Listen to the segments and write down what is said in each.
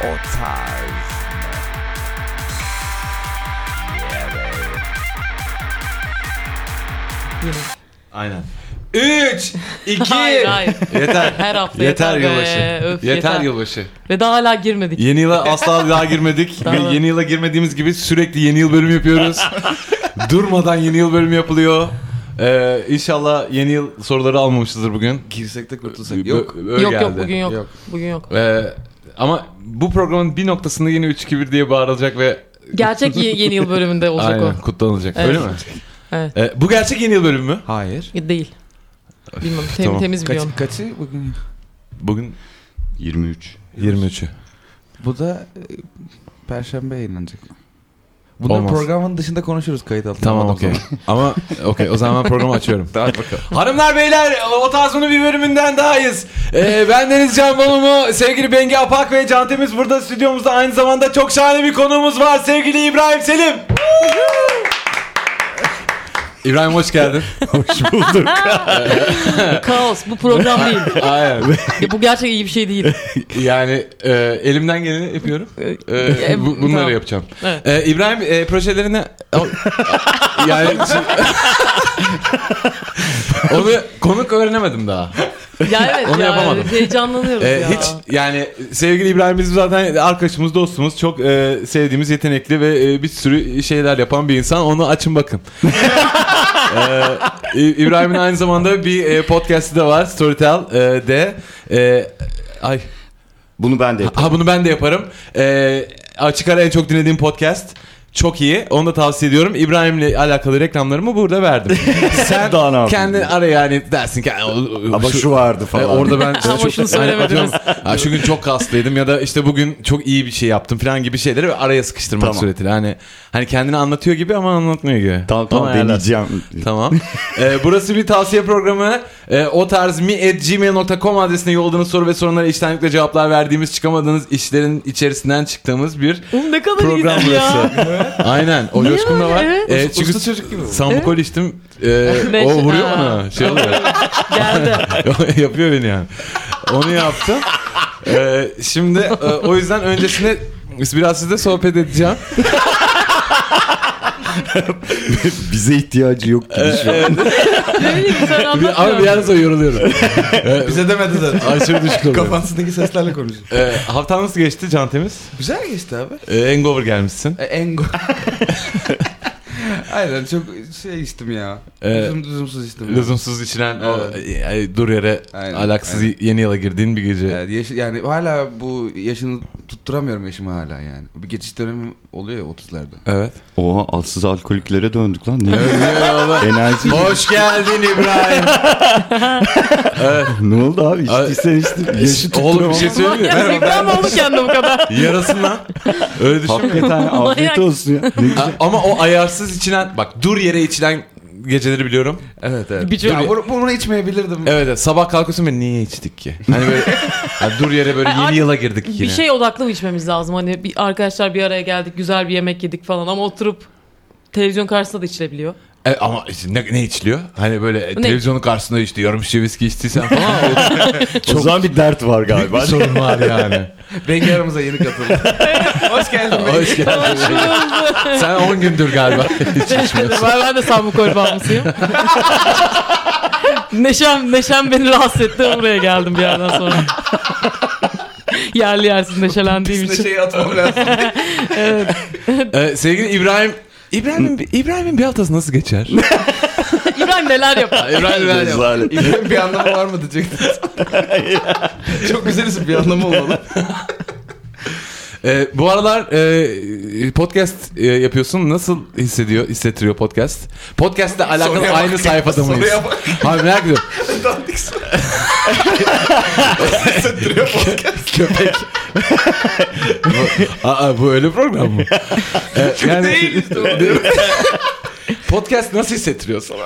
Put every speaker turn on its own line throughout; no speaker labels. O tarz mı? Evet.
Aynen.
3, 2,
Hayır hayır.
Yeter.
Her hafta yeter,
yeter
be.
yılbaşı.
Öf,
Yeter,
yeter.
yılbaşı.
Ve daha hala girmedik.
Yeni yıla asla daha girmedik. Ve
Tamam.
yeni yıla girmediğimiz gibi sürekli yeni yıl bölümü yapıyoruz. Durmadan yeni yıl bölümü yapılıyor. Ee, inşallah yeni yıl soruları almamışızdır bugün.
Girsek de kurtulsak.
Bö-
Yok.
öyle
yok yok
geldi.
bugün yok.
Yok.
Bugün yok.
Ee, ama bu programın bir noktasında yine 3-2-1 diye bağırılacak ve
Gerçek ye- yeni yıl bölümünde olacak
aynen, kutlanılacak.
Evet.
Öyle mi?
Evet.
Ee, bu gerçek yeni yıl bölümü mü?
Hayır.
o. E, Değil. Bilmem tem-
Tamam.
temiz
Kaç,
biliyorum.
kaçı bugün?
Bugün
23.
23'ü.
Bu da e, perşembe yayınlanacak. Bunları
Olmaz.
programın dışında konuşuruz kayıt altında.
Tamam
Adam
okey.
zaman.
Ama okey o zaman ben programı açıyorum. Hanımlar beyler o tarzının bir bölümünden dahayız. Ee, ben Deniz Can Bonomo, sevgili Bengi Apak ve Can Temiz burada stüdyomuzda aynı zamanda çok şahane bir konuğumuz var. Sevgili İbrahim Selim. İbrahim hoş geldin.
Hoş bulduk.
Kaos bu program değil.
Aynen.
Ya bu gerçek iyi bir şey değil.
Yani e, elimden geleni yapıyorum. E,
E,
bu- bunları
tamam.
yapacağım.
Evet.
E, İbrahim e, projelerine yani onu konuk öğrenemedim daha.
Ya evet
Onu
ya,
yapamadım.
heyecanlanıyoruz
Ee,
ya.
hiç yani sevgili İbrahim bizim zaten arkadaşımız dostumuz çok e, sevdiğimiz yetenekli ve e, bir sürü şeyler yapan bir insan onu açın bakın. Ee, İ- İbrahim'in aynı zamanda bir e, podcast'i de var Storytel e, de E, ay
Bunu ben de
ha bunu ben de yaparım. E, açık ara en çok dinlediğim podcast. Çok iyi. Onu da tavsiye ediyorum. İbrahim'le alakalı reklamlarımı burada verdim. Sen
Daha ne yapayım?
kendi ara yani dersin ki "Ay, o- o-
Ama şu vardı
e,
falan.
orada ben
Ama şunu
Hani atıyorum,
söylemediniz.
"Ha, şu gün çok kaslıydım ya da işte bugün çok iyi bir şey yaptım falan gibi şeyleri ve araya sıkıştırmak
Tamam.
suretiyle. Hani hani kendini anlatıyor gibi ama anlatmıyor gibi.
Tamam tamam
Onu ayarlarsın.
deneyeceğim.
Tamam. Ee, burası bir tavsiye programı. Ee, o tarz mi@gmail.com adresine yolladığınız soru ve sorunlara içtenlikle cevaplar verdiğimiz, çıkamadığınız işlerin içerisinden çıktığımız bir
Oğlum ne kadar
program
iyi ya.
burası. Aynen. O
Niye
coşkum da
öyle?
var.
Evet.
Ee, çünkü
Usta çocuk gibi. bu.
Sambucol içtim. Ee,
Ne-
o vuruyor
Ha.
mu? Şey oluyor.
Geldi.
Yapıyor beni yani. Onu yaptım. Ee, şimdi e, o yüzden öncesinde biraz sizle sohbet edeceğim.
Bize ihtiyacı yok gibi şu an.
Ne bileyim sen
Bir, ama bir
anlatmıyorum.
yerden sonra yoruluyorum.
Bize demedi zaten.
Aşırı düşük oluyorum.
Kafasındaki seslerle konuşuyor.
Ee, haftan nasıl geçti Can Temiz?
Güzel geçti abi.
Ee, hangover gelmişsin.
E, Engo. Aynen çok şey içtim ya.
Ee,
Lüzum, lüzumsuz içtim. ya.
Lüzumsuz içilen o, e, dur yere
Aynen,
alaksız
aynen.
yeni yıla girdiğin bir gece.
Yani, E, yaşı- yani hala bu yaşını tutturamıyorum yaşımı hala yani. Bir geçiş dönemi oluyor ya 30'larda.
Evet.
Oha alsız alkoliklere döndük lan. Ne? Enerji.
Hoş geldin İbrahim.
ne oldu abi?
Ay- e,
İçtiysen içtin. Yaşı
Oğlum bir şey
tutturamam.
söyleyeyim mi?
Ya reklam oldu kendine bu kadar.
Yarasın lan. Öyle düşünme.
Hakikaten afiyet
Manyak.
olsun ya. Ne güzel.
A- Ama o ayarsız içilen bak dur yere içilen geceleri biliyorum.
Evet evet.
Bir çocuk-
Ya bunu, bunu içmeyebilirdim.
Evet evet, sabah kalkıyorsun ve niye içtik ki? Hani böyle hani dur yere böyle yeni
Abi,
yıla girdik yine.
Bir şey odaklı mı içmemiz lazım? Hani bir arkadaşlar bir araya geldik, güzel bir yemek yedik falan ama oturup televizyon karşısında da içilebiliyor.
E, ama işte ne, ne içiliyor? Hani böyle e, televizyonun karşısında işte yarım şişe viski içtiysen falan o
o zaman bir dert var
büyük bir
galiba.
sorun var yani.
Bengi aramıza yeni katıldı. Hoş geldin Bengi.
Hoş geldin. Sen 10 gündür galiba hiç içmiyorsun.
ben, ben de sambukol bağımlısıyım. neşem, neşem beni rahatsız etti. Buraya geldim bir yerden sonra. Yerli yersiz neşelendiğim
Üstüne
için.
şeyi atmam lazım.
E, sevgili İbrahim İbrahim'in İbrahim'in bir haftası nasıl geçer?
İbrahim neler yapar?
İbrahim neler yapar?
Rezalet.
İbrahim bir anlamı var mı diyecektiniz. Çok güzel isim bir anlamı olmalı.
E, bu aralar e, podcast e, yapıyorsun. Nasıl hissediyor, hissettiriyor podcast? Podcast'le alakalı
Soruya bak
aynı
ya,
sayfada mıyız?
soruya bak.
Abi merak ediyorum.
Dandik soru. Hissettiriyor podcast.
Köpek. bu, aa, bu öyle program mı? Ee, yani,
Değil işte o.
podcast nasıl hissettiriyor sana?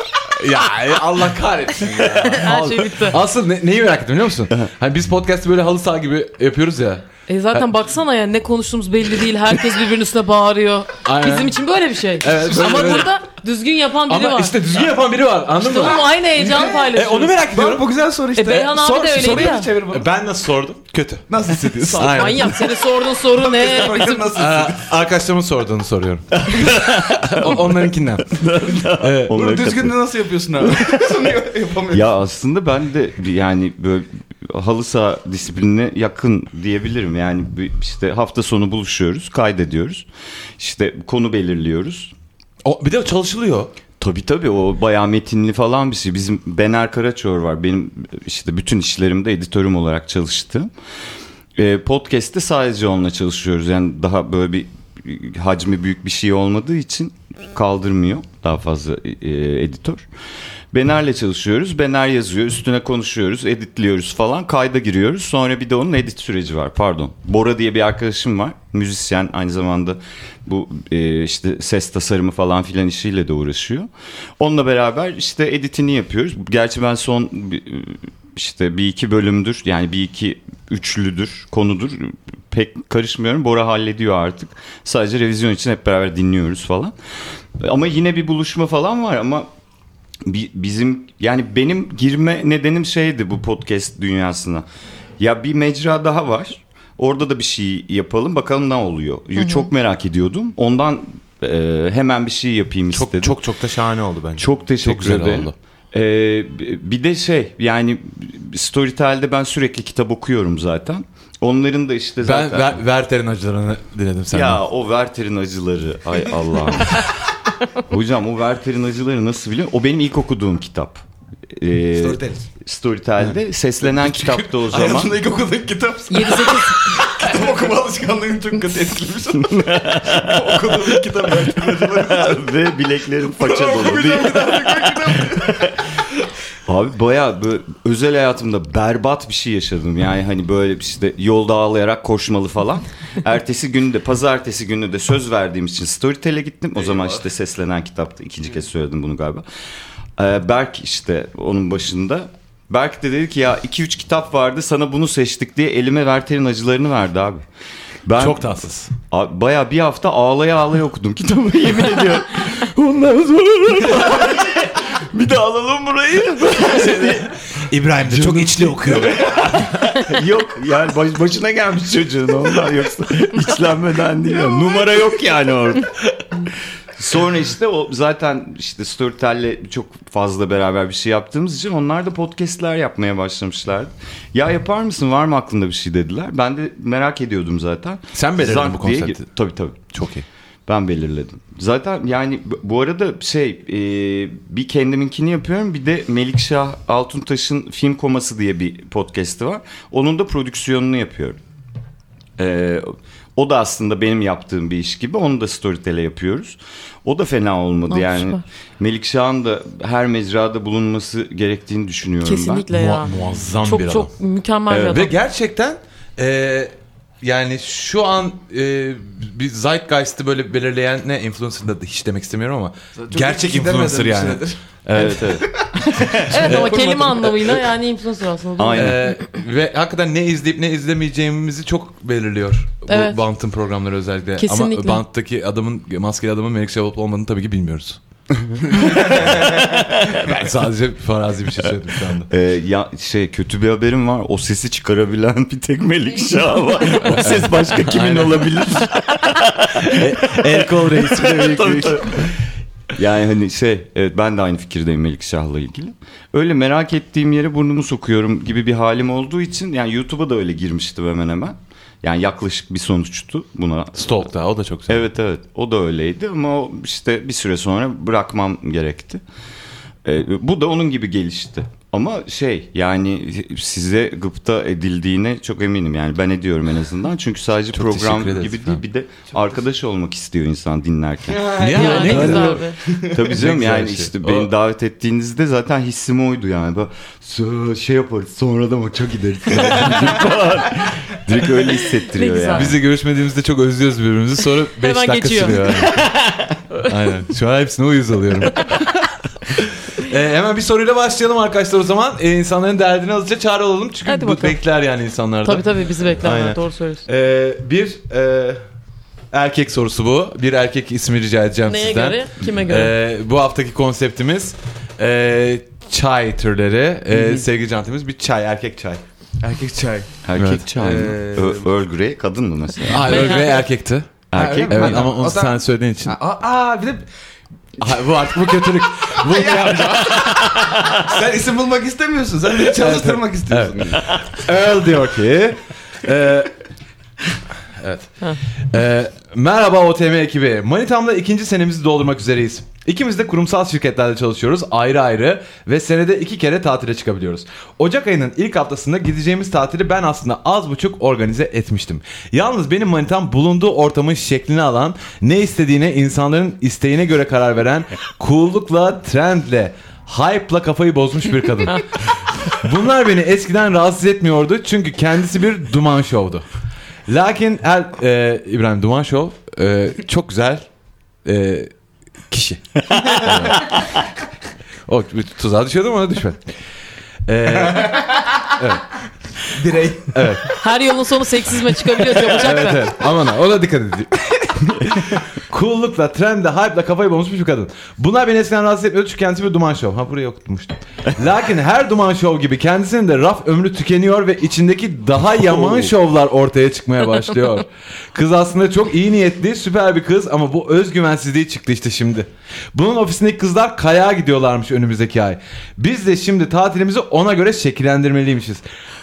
ya Allah kahretsin ya.
Her şey bitti.
Asıl ne- neyi merak ettim biliyor musun? Hani biz podcast'ı böyle halı saha gibi yapıyoruz ya.
E zaten baksana ya ne konuştuğumuz belli değil. Herkes birbirinin üstüne bağırıyor.
Aynen.
Bizim için böyle bir şey.
Evet, böyle,
Ama
böyle.
burada Düzgün yapan biri
Ama
var.
işte düzgün yapan biri var. Anladın
İşte
mı?
oğlum aynı heyecanı
E,
paylaşıyoruz.
onu merak ediyorum.
Bak bu güzel soru işte.
E, Beyhan abi de öyleydi
soruyu
ya.
bir çevir bana.
E, Ben nasıl sordum? Kötü.
Nasıl hissediyorsun?
Aynen.
Manyak senin sorduğun soru ne?
Bakın nasıl
Ee, arkadaşlarımın sorduğunu soruyorum. O- Onlarınkinden. Ee, Evet.
Onları
Bunu düzgün de
katılıyorum.
nasıl yapıyorsun abi? Bunu yapamıyorum.
Ya aslında ben de yani böyle halı saha disiplinine yakın diyebilirim. Yani bir- işte hafta sonu buluşuyoruz, kaydediyoruz. İşte konu belirliyoruz.
O, bir de çalışılıyor.
Tabii tabii o bayağı metinli falan bir şey. Bizim Bener Karaçor var. Benim işte bütün işlerimde editörüm olarak çalıştı. Ee, podcast'te sadece onunla çalışıyoruz. Yani daha böyle bir e, hacmi büyük bir şey olmadığı için kaldırmıyor daha fazla e, editör. Bener'le çalışıyoruz. Bener yazıyor. Üstüne konuşuyoruz. Editliyoruz falan. Kayda giriyoruz. Sonra bir de onun edit süreci var. Pardon. Bora diye bir arkadaşım var. Müzisyen aynı zamanda bu e, işte ses tasarımı falan filan işiyle de uğraşıyor. Onunla beraber işte editini yapıyoruz. Gerçi ben son bir- işte bir iki bölümdür yani bir iki üçlüdür konudur pek karışmıyorum. Bora hallediyor artık. Sadece revizyon için hep beraber dinliyoruz falan. Ama yine bir buluşma falan var ama bi- bizim yani benim girme nedenim şeydi bu podcast dünyasına. Ya bir mecra daha var. Orada da bir şey yapalım bakalım ne oluyor. Çok merak ediyordum. Ondan e, hemen bir şey yapayım
Çok
istedim.
çok çok da şahane oldu bence.
Çok
Çok
teşekkür
güzel
ederim.
oldu.
Ee, b- bir de şey yani Storytel'de ben sürekli kitap okuyorum zaten. Onların da işte
ben
zaten...
ver, Werther'in acılarını dinledim senden.
Ya o Werther'in acıları. Ay Allah'ım. Hocam o Werther'in acıları nasıl biliyor musun? O benim ilk okuduğum kitap.
e,
Ee,
Storytel.
Storytel'de seslenen kitapta o zaman.
Hayatımda ilk okuduğum kitap.
7-8
kitap okuma alışkanlığını çok kötü etkilemiş. okuduğum kitap.
Ve bileklerim paça dolu diye.
Okuyacağım bir daha.
Abi bayağı böyle özel hayatımda berbat bir şey yaşadım. Yani hani böyle işte yolda ağlayarak koşmalı falan. Ertesi günü de pazartesi günü de söz verdiğim için Storytel'e gittim. O zaman işte seslenen kitapta ikinci kez söyledim bunu galiba. Ee, Berk işte onun başında. Berk de dedi ki ya 2-3 kitap vardı sana bunu seçtik diye elime Verter'in acılarını verdi abi. Ben
Çok tatsız.
Abi bayağı bir hafta ağlaya ağlaya okudum kitabı yemin ediyorum. Ondan sonra bir de alalım burayı.
İbrahim de çok içli okuyor.
yok yani baş- başına gelmiş çocuğun ondan yoksa içlenmeden değil. ya. Numara yok yani orada. Sonra işte o zaten işte Storytel'le çok fazla beraber bir şey yaptığımız için onlar da podcast'ler yapmaya başlamışlardı. Ya yapar mısın var mı aklında bir şey dediler. Ben de merak ediyordum zaten.
Sen belirledin
Zank
bu
diye-
konsepti.
Tabii tabii.
çok iyi.
Ben belirledim. Zaten yani b- bu arada şey e, bir kendiminkini yapıyorum bir de Melikşah Altuntaş'ın Film Koması diye bir podcast'i var. Onun da prodüksiyonunu yapıyorum. E, o da aslında benim yaptığım bir iş gibi. Onu da Storytel'e yapıyoruz. O da fena olmadı
Aa,
yani.
süper.
Melikşah'ın da her mecrada bulunması gerektiğini düşünüyorum ben.
kesinlikle ya.
Mua- muazzam
çok
bir adam.
çok mükemmel bir
Ee,
adam.
ve gerçekten e, yani şu an e, bir zeitgeist'i böyle belirleyen ne influencer da hiç demek istemiyorum ama gerçek
şey
influencer yani.
Evet evet.
Ee, evet ama kelime anlamıyla yani influencer aslında. Doğru.
Aynen.
E, ve hakikaten ne izleyip ne izlemeyeceğimizi çok belirliyor. Bu
Evet.
Bant'ın programları özellikle.
Kesinlikle.
Ama Bant'taki adamın, maskeli adamın Melikşah olup olmadığını tabii ki bilmiyoruz. ben sadece farazi bir şey söyledim şu anda.
Ee, ya şey kötü bir haberim var. O sesi çıkarabilen bir tek Melikşah var. o ses başka kimin olabilir?
E, El kol reis.
Tabii, tabii. Yani hani şey evet ben de aynı fikirdeyim Melikşah'la ilgili. Öyle merak ettiğim yere burnumu sokuyorum gibi bir halim olduğu için yani YouTube'a da öyle girmiştim hemen hemen. Yani yaklaşık bir sonuçtu buna.
Stalk'ta o da çok güzel.
Evet evet o da öyleydi ama o işte bir süre sonra bırakmam gerekti. Ee, bu da onun gibi gelişti. Ama şey yani size gıpta edildiğine çok eminim yani ben ediyorum en azından. Çünkü sadece program
teşekkür
gibi
ederiz
değil
efendim.
bir de arkadaş olmak istiyor insan dinlerken.
Niye?
Ya, ne
güzel.
güzel be.
Tabii canım
güzel
yani
şey.
işte
O-
beni davet ettiğinizde zaten hissim oydu yani. Böyle, "Sö- şey yaparız sonra da maça gideriz. falan. Direkt öyle hissettiriyor
Ne güzel.
yani.
Biz de görüşmediğimizde çok özlüyoruz birbirimizi. Sonra 5
Hemen
dakika
geçiyor.
sürüyor. yani. Aynen. Şu an hepsine uyuz alıyorum. Ee, hemen bir soruyla başlayalım arkadaşlar o zaman. Ee, insanların derdini azıcık çare olalım. Çünkü
Hadi
bu
bakalım.
bekler yani insanlarda.
Tabii tabii bizi beklerler
Aynen.
doğru söylüyorsun.
Ee, bir Ee, e, Erkek sorusu bu. Bir erkek ismi rica edeceğim
Neye
sizden.
göre? Kime göre?
Ee, bu haftaki konseptimiz e, çay türleri. Ee, sevgili Cantemiz bir çay, erkek çay.
Erkek çay.
Erkek
Evet.
çay mı?
Ee,
Ö- Earl Grey kadın mı mesela?
Hayır,
Ben-
öyle erkekti.
Erkek
öyle
mi?
mi?
Evet
Aynen.
ama onu
O zaman-
sen söylediğin için.
Aa, aa, bir de
Hayır, bu artık bu kötülük. Bunu yapma.
sen isim bulmak istemiyorsun. Sen beni çalıştırmak istiyorsun.
Earl diyor ki. e, evet. E, merhaba OTM ekibi. Manitam'la ikinci senemizi doldurmak üzereyiz. İkimiz de kurumsal şirketlerde çalışıyoruz ayrı ayrı ve senede iki kere tatile çıkabiliyoruz. Ocak ayının ilk haftasında gideceğimiz tatili ben aslında az buçuk organize etmiştim. Yalnız benim manitam bulunduğu ortamın şeklini alan, ne istediğine insanların isteğine göre karar veren, cool'lukla, trendle, hype'la kafayı bozmuş bir kadın. Bunlar beni eskiden rahatsız etmiyordu çünkü kendisi bir duman şovdu. Lakin el, e, İbrahim Duman Şov e, çok güzel e, kişi. o bir tuzağa düşüyordum ona düşmedi. E,
Birey.
Her yolun sonu seksizme çıkabiliyor çabucak
evet
da.
evet. Aman ha ona dikkat edin. Cool'lukla, trendle, hype'la kafayı bulmuş bir kadın. Bunlar beni eskiden rahatsız etmiyordu çünkü kendisi bir duman şov. Ha buraya okutmuştum. Lakin her duman şov gibi kendisinin de raf ömrü tükeniyor ve içindeki daha yaman şovlar ortaya çıkmaya başlıyor. Kız aslında çok iyi niyetli, süper bir kız ama bu özgüvensizliği çıktı işte şimdi. Bunun ofisindeki kızlar kayağa gidiyorlarmış önümüzdeki ay. Biz de şimdi tatilimizi ona göre şekillendirmeliymişiz.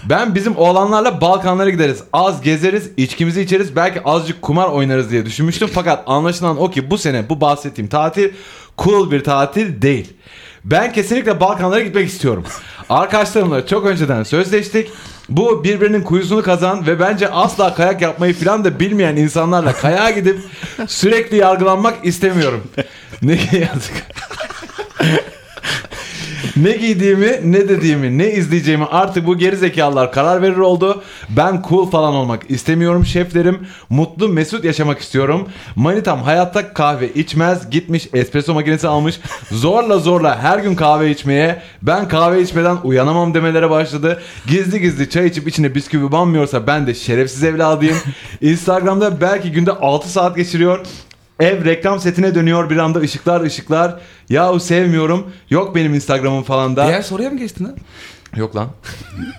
Ben bizim oğlanlarla Balkanlara gideriz. Az gezeriz, içkimizi içeriz, belki azıcık kumar oynarız diye düşünmüştüm. Fakat anlaşılan o ki bu sene bu bahsettiğim tatil cool bir tatil değil. Ben kesinlikle Balkanlara gitmek istiyorum. Arkadaşlarımla çok önceden sözleştik. Bu birbirinin kuyusunu kazan ve bence asla kayak yapmayı filan da bilmeyen insanlarla kayağa gidip sürekli yargılanmak istemiyorum. Ne yazık. Ne giydiğimi, ne dediğimi, ne izleyeceğimi artık bu gerizekalılar karar verir oldu. Ben cool falan olmak istemiyorum şeflerim. Mutlu mesut yaşamak istiyorum. Manitam hayatta kahve içmez. Gitmiş espresso makinesi almış. Zorla zorla her gün kahve içmeye. Ben kahve içmeden uyanamam demelere başladı. Gizli gizli çay içip içine bisküvi banmıyorsa ben de şerefsiz evladıyım. Instagram'da belki günde 6 saat geçiriyor. Ev reklam setine dönüyor bir anda ışıklar ışıklar. Yahu sevmiyorum. Yok benim Instagram'ım falan da.
Diğer soruya mı geçtin ha?
Yok lan.
Yoksa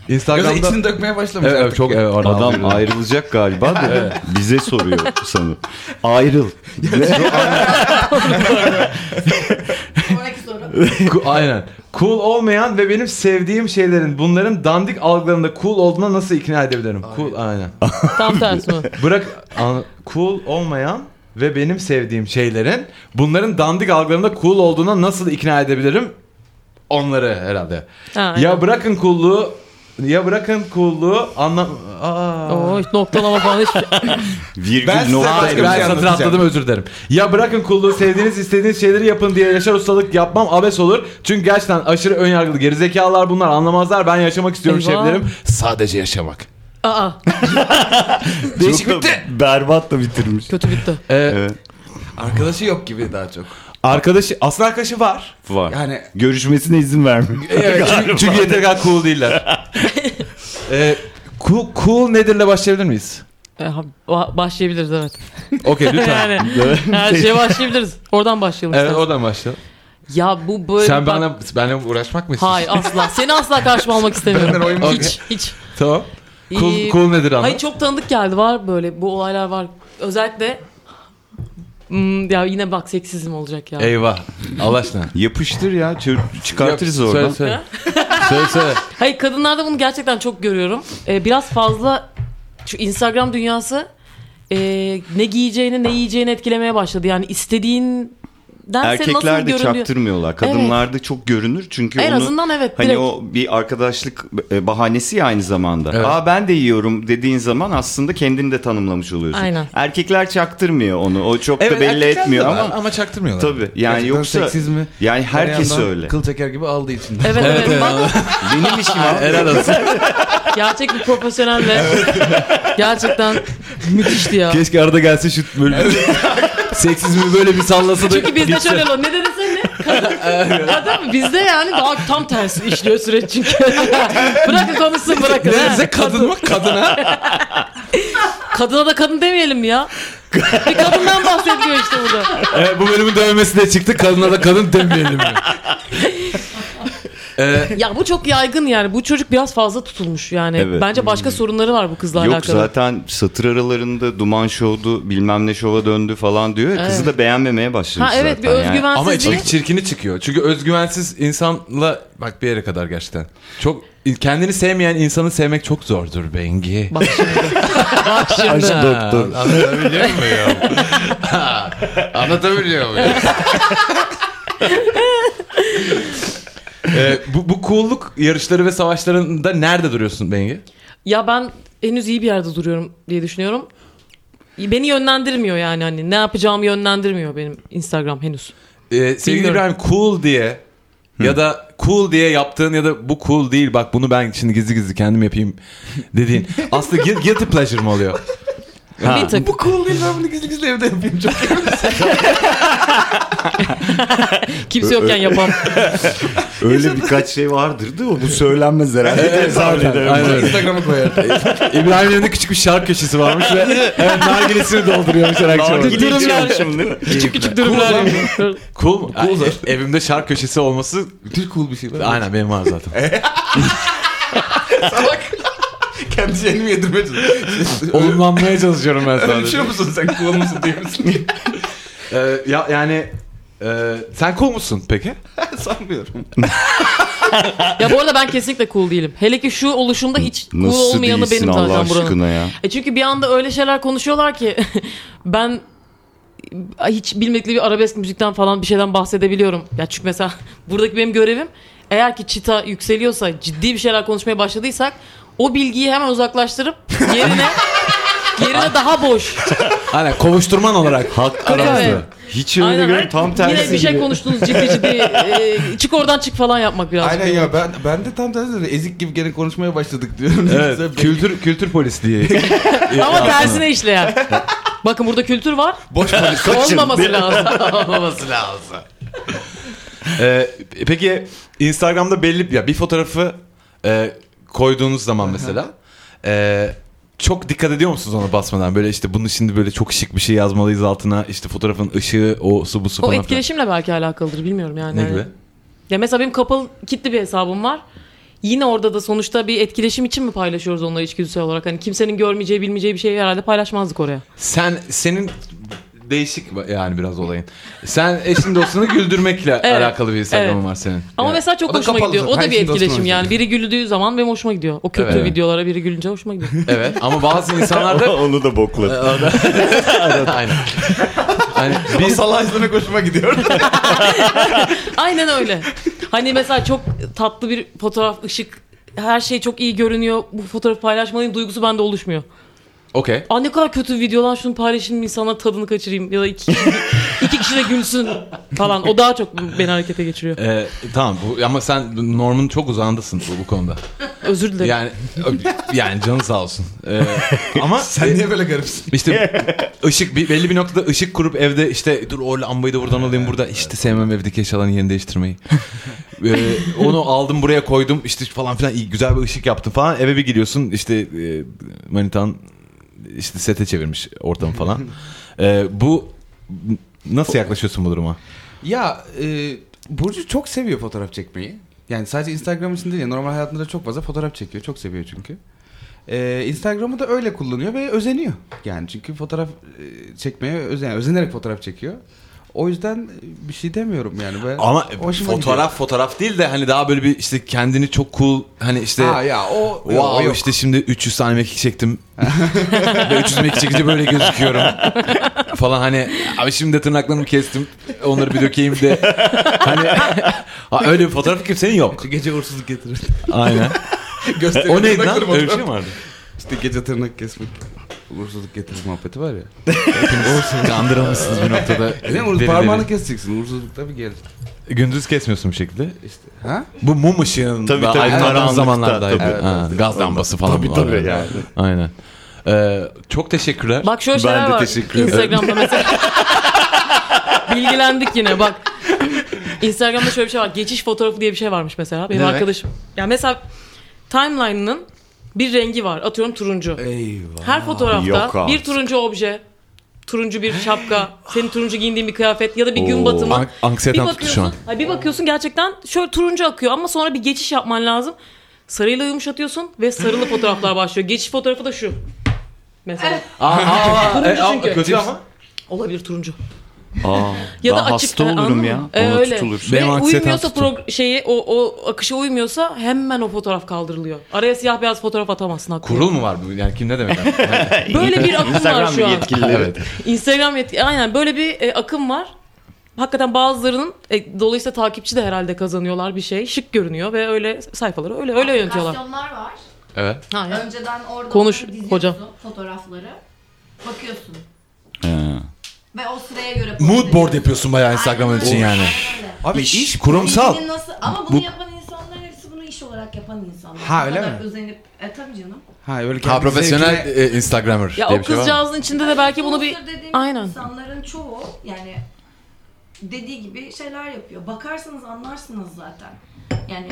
Instagram'da.
içini dökmeye başlamış
Evet, evet,
artık.
çok evet, oradan
Adam
aldım.
ayrılacak galiba da bize soruyor sanırım. Ayrıl.
Sonraki soru.
Ku- Aynen. Cool olmayan ve benim sevdiğim şeylerin bunların dandik algılarında cool olduğuna nasıl ikna edebilirim? Cool aynen.
Tam tersi mi?
Bırak an- cool olmayan ve benim sevdiğim şeylerin bunların dandik algılarında cool olduğuna nasıl ikna edebilirim? Onları herhalde.
Ha,
Ya bırakın coolluğu ya bırakın coolluğu anlam... Aa.
Oo, hiç noktalama falan hiç.
Virgül
Ben size
nokta.
başka
Hayır
bir
ben
şey
satır
anlatacağım.
atladım özür dilerim. Ya bırakın kulluğu sevdiğiniz istediğiniz şeyleri yapın diye yaşar ustalık yapmam abes olur. Çünkü gerçekten aşırı önyargılı gerizekalılar bunlar anlamazlar. Ben yaşamak istiyorum
Eyvah.
şeflerim. Sadece yaşamak.
Aa,
Değişik Berbat da bitirmiş.
kötü bitti.
Ee,
Evet.
Arkadaşı yok gibi daha çok.
Arkadaşı, aslında arkadaşı var.
Var.
Yani
Görüşmesine izin vermiyor.
Evet, çünkü, çünkü yeteri kadar cool değiller. ee, cool, cool nedirle başlayabilir miyiz?
Ee, ha- ba- başlayabiliriz evet.
Okey lütfen.
Yani her şeye başlayabiliriz. Oradan başlayalım.
Şey- evet
istersen.
oradan başla.
Ya bu böyle...
Sen
bak-
benimle, benimle uğraşmak mı istiyorsun?
Hayır asla. Seni asla karşıma almak
Benden
istemiyorum.
oyun var.
hiç hiç.
Tamam. Cool,
Ee,
cool nedir anlat.
Hayır çok tanıdık geldi. Var böyle bu olaylar var. Özellikle Hmm, ya yine bak seksizm olacak ya.
Eyvah. Allah aşkına.
Yapıştır ya. çö- Çıkartırız
Yok,
oradan.
Söyle söyle. söyle söyle.
Hayır kadınlarda bunu gerçekten çok görüyorum. Ee, biraz fazla şu Instagram dünyası e, ne giyeceğini ne yiyeceğini etkilemeye başladı. Yani istediğinden senin
Erkekler
nasıl
de
göründüğü...
çaktırmıyorlar. Kadınlarda çok görünür çünkü
En
onu
azından evet
hani
direkt.
o bir arkadaşlık e, bahanesi ya aynı zamanda.
Evet.
Aa ben de yiyorum dediğin zaman aslında kendini de tanımlamış oluyorsun.
Aynen.
Erkekler çaktırmıyor onu. O çok da belli
erkekler de
etmiyor
var
ama
çaktırmıyorlar.
tabii yani
gerçekten
yoksa
seksizmi
yani
her
herkes
yandan
öyle.
Kıl çeker gibi aldı içinde.
Evet evet,
evet.
bak
Benim işim abi.
Helal olsun.
gerçek bir profesyonel ve gerçekten müthişti ya.
Keşke arada gelse şu bölümü. Seksizmi böyle bir sallasa da
Çünkü bizde
gitse.
şöyle lo- ne dedin sen ne? Kadın, kadın bizde yani daha tam tersi işliyor süreç çünkü. bırakın konuşsun bırakın.
Ne
ha.
bize kadın mı kadına?
Kadına da kadın demeyelim ya. Bir kadından bahsediyor işte burada.
Evet, bu bölümün dövmesi de çıktı. Kadına da kadın demeyelim. Ee,
Ya bu çok yaygın yani. Bu çocuk biraz fazla tutulmuş yani.
Evet. Hmm.
Bence başka sorunları var bu kızla
Yok
alakalı.
zaten satır aralarında duman şovdu bilmem ne şova döndü falan diyor. ya, Kızı
Evet.
da beğenmemeye başlamış
Ha evet bir
zaten. Yani
Ama
özgüvensizlik.
içi çirkini çıkıyor. Çünkü özgüvensiz insanla bak bir yere kadar gerçekten. Çok kendini sevmeyen insanı sevmek çok zordur Bengi.
Bak şimdi. Bak şimdi.
Doktor. Anlatabiliyor muyum?
Anlatabiliyor muyum?
Ee, bu, bu cool'luk yarışları ve savaşlarında nerede duruyorsun Bengi?
Ya ben henüz iyi bir yerde duruyorum diye düşünüyorum. Beni yönlendirmiyor yani hani ne yapacağımı yönlendirmiyor benim Instagram henüz.
Ee, sevgili
Bilmiyorum.
İbrahim cool diye ya da cool diye yaptığın ya da bu cool değil bak bunu ben şimdi gizli gizli kendim yapayım dediğin. Aslında gui- guilty pleasure mı oluyor?
Bir tık.
Bu cool değil ben bunu gizli gizli evde yapayım. Çok
Kimse yokken yapan.
Öyle birkaç şey vardır değil mi? Bu söylenmez herhalde.
Aynen öyle.
Instagram'a koyar.
İbrahim'in evinde küçük bir şark köşesi varmış ve evet, nargilesini dolduruyormuş her akşam.
Nargile
Durum yani.
içiyormuşum, değil mi?
küçük küçük durumlar.
Cool mu? Cool Evimde şark köşesi olması
Bütün cool bir şey var.
aynen benim var zaten.
Salak. Kendi şeyini mi yedirmeye çalışıyorsun?
Olumlanmaya çalışıyorum ben
Öyle şey
sadece.
düşünüyor musun sen? Cool musun değil misin?
Ee, ya, yani e, sen cool musun peki?
Sanmıyorum.
ya bu arada ben kesinlikle cool değilim. Hele ki şu oluşumda hiç cool
Nasıl
olmayanı
değilsin
benim
Allah
Tarkan Buran'ın.
aşkına ya.
E çünkü bir anda öyle şeyler konuşuyorlar ki ben hiç bilmedikleri bir arabesk müzikten falan bir şeyden bahsedebiliyorum. Ya çünkü mesela buradaki benim görevim eğer ki çıta yükseliyorsa ciddi bir şeyler konuşmaya başladıysak o bilgiyi hemen uzaklaştırıp yerine yerine daha boş.
Aynen kovuşturman olarak.
Evet.
Hiç öyle
Aynen.
görüyorum tam
Yine
tersi
bir şey
gibi.
konuştunuz ciddi ciddi. e, çık oradan çık falan yapmak biraz.
Aynen e, ya ben ben de tam tersi de ezik gibi gene konuşmaya başladık diyorum.
Evet, kültür kültür polisliği.
Ama tersine işleyen. Bakın burada kültür var.
Boş polis.
Olmaması lazım.
Olmaması lazım.
Ee, peki Instagram'da belli ya bir fotoğrafı e, koyduğunuz zaman mesela e, çok dikkat ediyor musunuz ona basmadan? Böyle işte bunu şimdi böyle çok şık bir şey yazmalıyız altına. işte fotoğrafın ışığı o su bu su
o
falan.
etkileşimle belki alakalıdır bilmiyorum yani. Hani
filan. Ne gibi?
Ya mesela benim kapalı kitli bir hesabım var. Yine orada da sonuçta bir etkileşim için mi paylaşıyoruz onları içgüdüsel olarak? Hani kimsenin görmeyeceği, bilmeyeceği bir şeyi herhalde paylaşmazdık oraya.
Sen senin değişik yani biraz olayın. Sen eşin dostunu güldürmekle
Evet,
alakalı bir Instagram'ın
evet.
var senin.
Ama
Yani-
mesela çok
o da
hoşuma
kapalı
gidiyor.
zaten.
O da bir
Herkesin dostuna
etkileşim
hoşuna
yani. Biri güldüğü zaman benim hoşuma gidiyor. O kötü
Evet.
videolara biri gülünce hoşuma gidiyor.
Evet ama bazı insanlarda
Onu da bokladı.
aynen. Hani
Bir
biz
salağa izlemek hoşuma gidiyor.
Aynen öyle. Hani mesela çok tatlı bir fotoğraf, ışık, her şey çok iyi görünüyor. Bu fotoğrafı paylaşmalıyım duygusu bende oluşmuyor.
okey.
Aa ne kadar kötü video lan şunu paylaşayım insanlar tadını kaçırayım ya da iki, iki kişi de gülsün falan. O daha çok beni harekete geçiriyor.
Ee, tamam bu, ama sen Norm'un çok uzağındasın bu, bu konuda.
Özür dilerim.
Yani yani canın sağ olsun. Ee, ama
sen niye böyle garipsin?
işte ışık bir- belli bir noktada ışık kurup evde işte dur o lambayı da buradan alayım burada işte sevmem evdeki eşyaların yerini değiştirmeyi. Ee, onu aldım buraya koydum işte falan filan iyi güzel bir ışık yaptım falan eve bir gidiyorsun işte e, manitan işte sete çevirmiş ortamı falan. Ee, bu nasıl yaklaşıyorsun bu duruma?
Ya e, Burcu çok seviyor fotoğraf çekmeyi. Yani sadece Instagram için değil ya normal hayatında da çok fazla fotoğraf çekiyor. Çok seviyor çünkü. E, Instagram'ı da öyle kullanıyor ve özeniyor. Yani çünkü fotoğraf e, çekmeye özen, özenerek fotoğraf çekiyor. O yüzden e, bir şey demiyorum yani. Ben
Ama
hoşuma
fotoğraf fotoğraf değil de hani daha böyle bir işte kendini çok cool hani işte
gidiyor. Ha ya o, o
Wow
yok.
işte şimdi 300 tane mekik çektim. Ve 300 mekik çekince böyle gözüküyorum. falan hani abi şimdi de tırnaklarımı kestim. Onları bir dökeyim de. Hani ha, öyle bir fotoğraf kimsenin yok.
Şu gece uğursuzluk getirir.
Aynen.
Gösteriyor
O neydi lan?
tırnakları
Öyle bir şey
fotoğraf.
mi vardı?
İşte gece tırnak kesmek. Uğursuzluk getirir muhabbeti var ya.
Kandırılmışsınız bir noktada.
E, ne uğursuz-
Deli
parmağını
deli.
keseceksin. Uğursuzluk tabii gelir.
Gündüz kesmiyorsun bir şekilde.
İşte. Ha?
Bu mum ışığında
Tabii, tabii,
aydınlanan
karanlıkta,
zamanlarda.
tabii.
aydın- Ha, gaz lambası falan
Tabii,
var.
tabii
böyle.
yani.
Aynen. Ee, çok teşekkürler.
Bak şöyle
Ben
şeyler
de
var.
teşekkür ederim.
Instagram'da mesela. Bilgilendik yine bak. Instagram'da şöyle bir şey var. Geçiş fotoğrafı diye bir şey varmış mesela. Benim
Ne demek?
arkadaşım. Ya mesela timeline'ının bir rengi var. Atıyorum turuncu.
Eyvah.
Her fotoğrafta
Ee, Yok artık.
bir turuncu obje, turuncu bir şapka, senin turuncu giyindiğin bir kıyafet ya da bir gün
Oo.
batımı.
An- anksiyeten
bir
tuttu şu an.
bakıyorsun, ha, bir bakıyorsun gerçekten şöyle turuncu akıyor ama sonra bir geçiş yapman lazım. Sarıyla yumuşatıyorsun ve sarılı fotoğraflar başlıyor. Geçiş fotoğrafı da şu. Mesela.
Aa, aa, aa,
Turuncu
e, aa,
çünkü.
kötü ama.
Olabilir turuncu.
Aa,
Ya
ya
da
daha
açık-
hasta
Ha, anladın
olurum
mı?
ya.
E,
Ona
öyle.
tutulursun.
Benim
Ve
anksiyeten
uymuyorsa
tuttu.
prog- şeyi o, o akışa uymuyorsa hemen o fotoğraf kaldırılıyor. Araya siyah beyaz fotoğraf atamazsın haklı.
Kurul mu var bu? Yani kim ne demek? abi?
Böyle bir akım var
Instagram
şu an.
yetkilileri.
evet.
Instagram yetki aynen böyle bir e, akım var. Hakikaten bazılarının e, dolayısıyla takipçi de herhalde kazanıyorlar bir şey. Şık görünüyor ve öyle sayfaları öyle öyle yönetiyorlar.
Aplikasyonlar var.
Evet.
Ha, ya.
Önceden orada
Konuş,
diziyorsun
hocam.
fotoğrafları. Bakıyorsun.
He.
Ve o sıraya göre...
Mood board yapıyorsun bayağı Instagram için yani.
Abi
İş,
iş,
kurumsal.
Bilginin Nasıl, ama bunu yapan insanlar hepsi bunu iş olarak yapan insanlar.
Ha,
Bu
öyle
kadar
mi?
Özenip, e tabii canım.
ha
Ha
böyle kendi
profesyonel
zevkine-
e, Instagrammer
Ya
diye
o
bir şey var mı?
kızcağızın içinde de belki bunu bir
Influencer dediğimiz
aynen.
insanların çoğu yani dediği gibi şeyler yapıyor. Bakarsanız anlarsınız zaten. Yani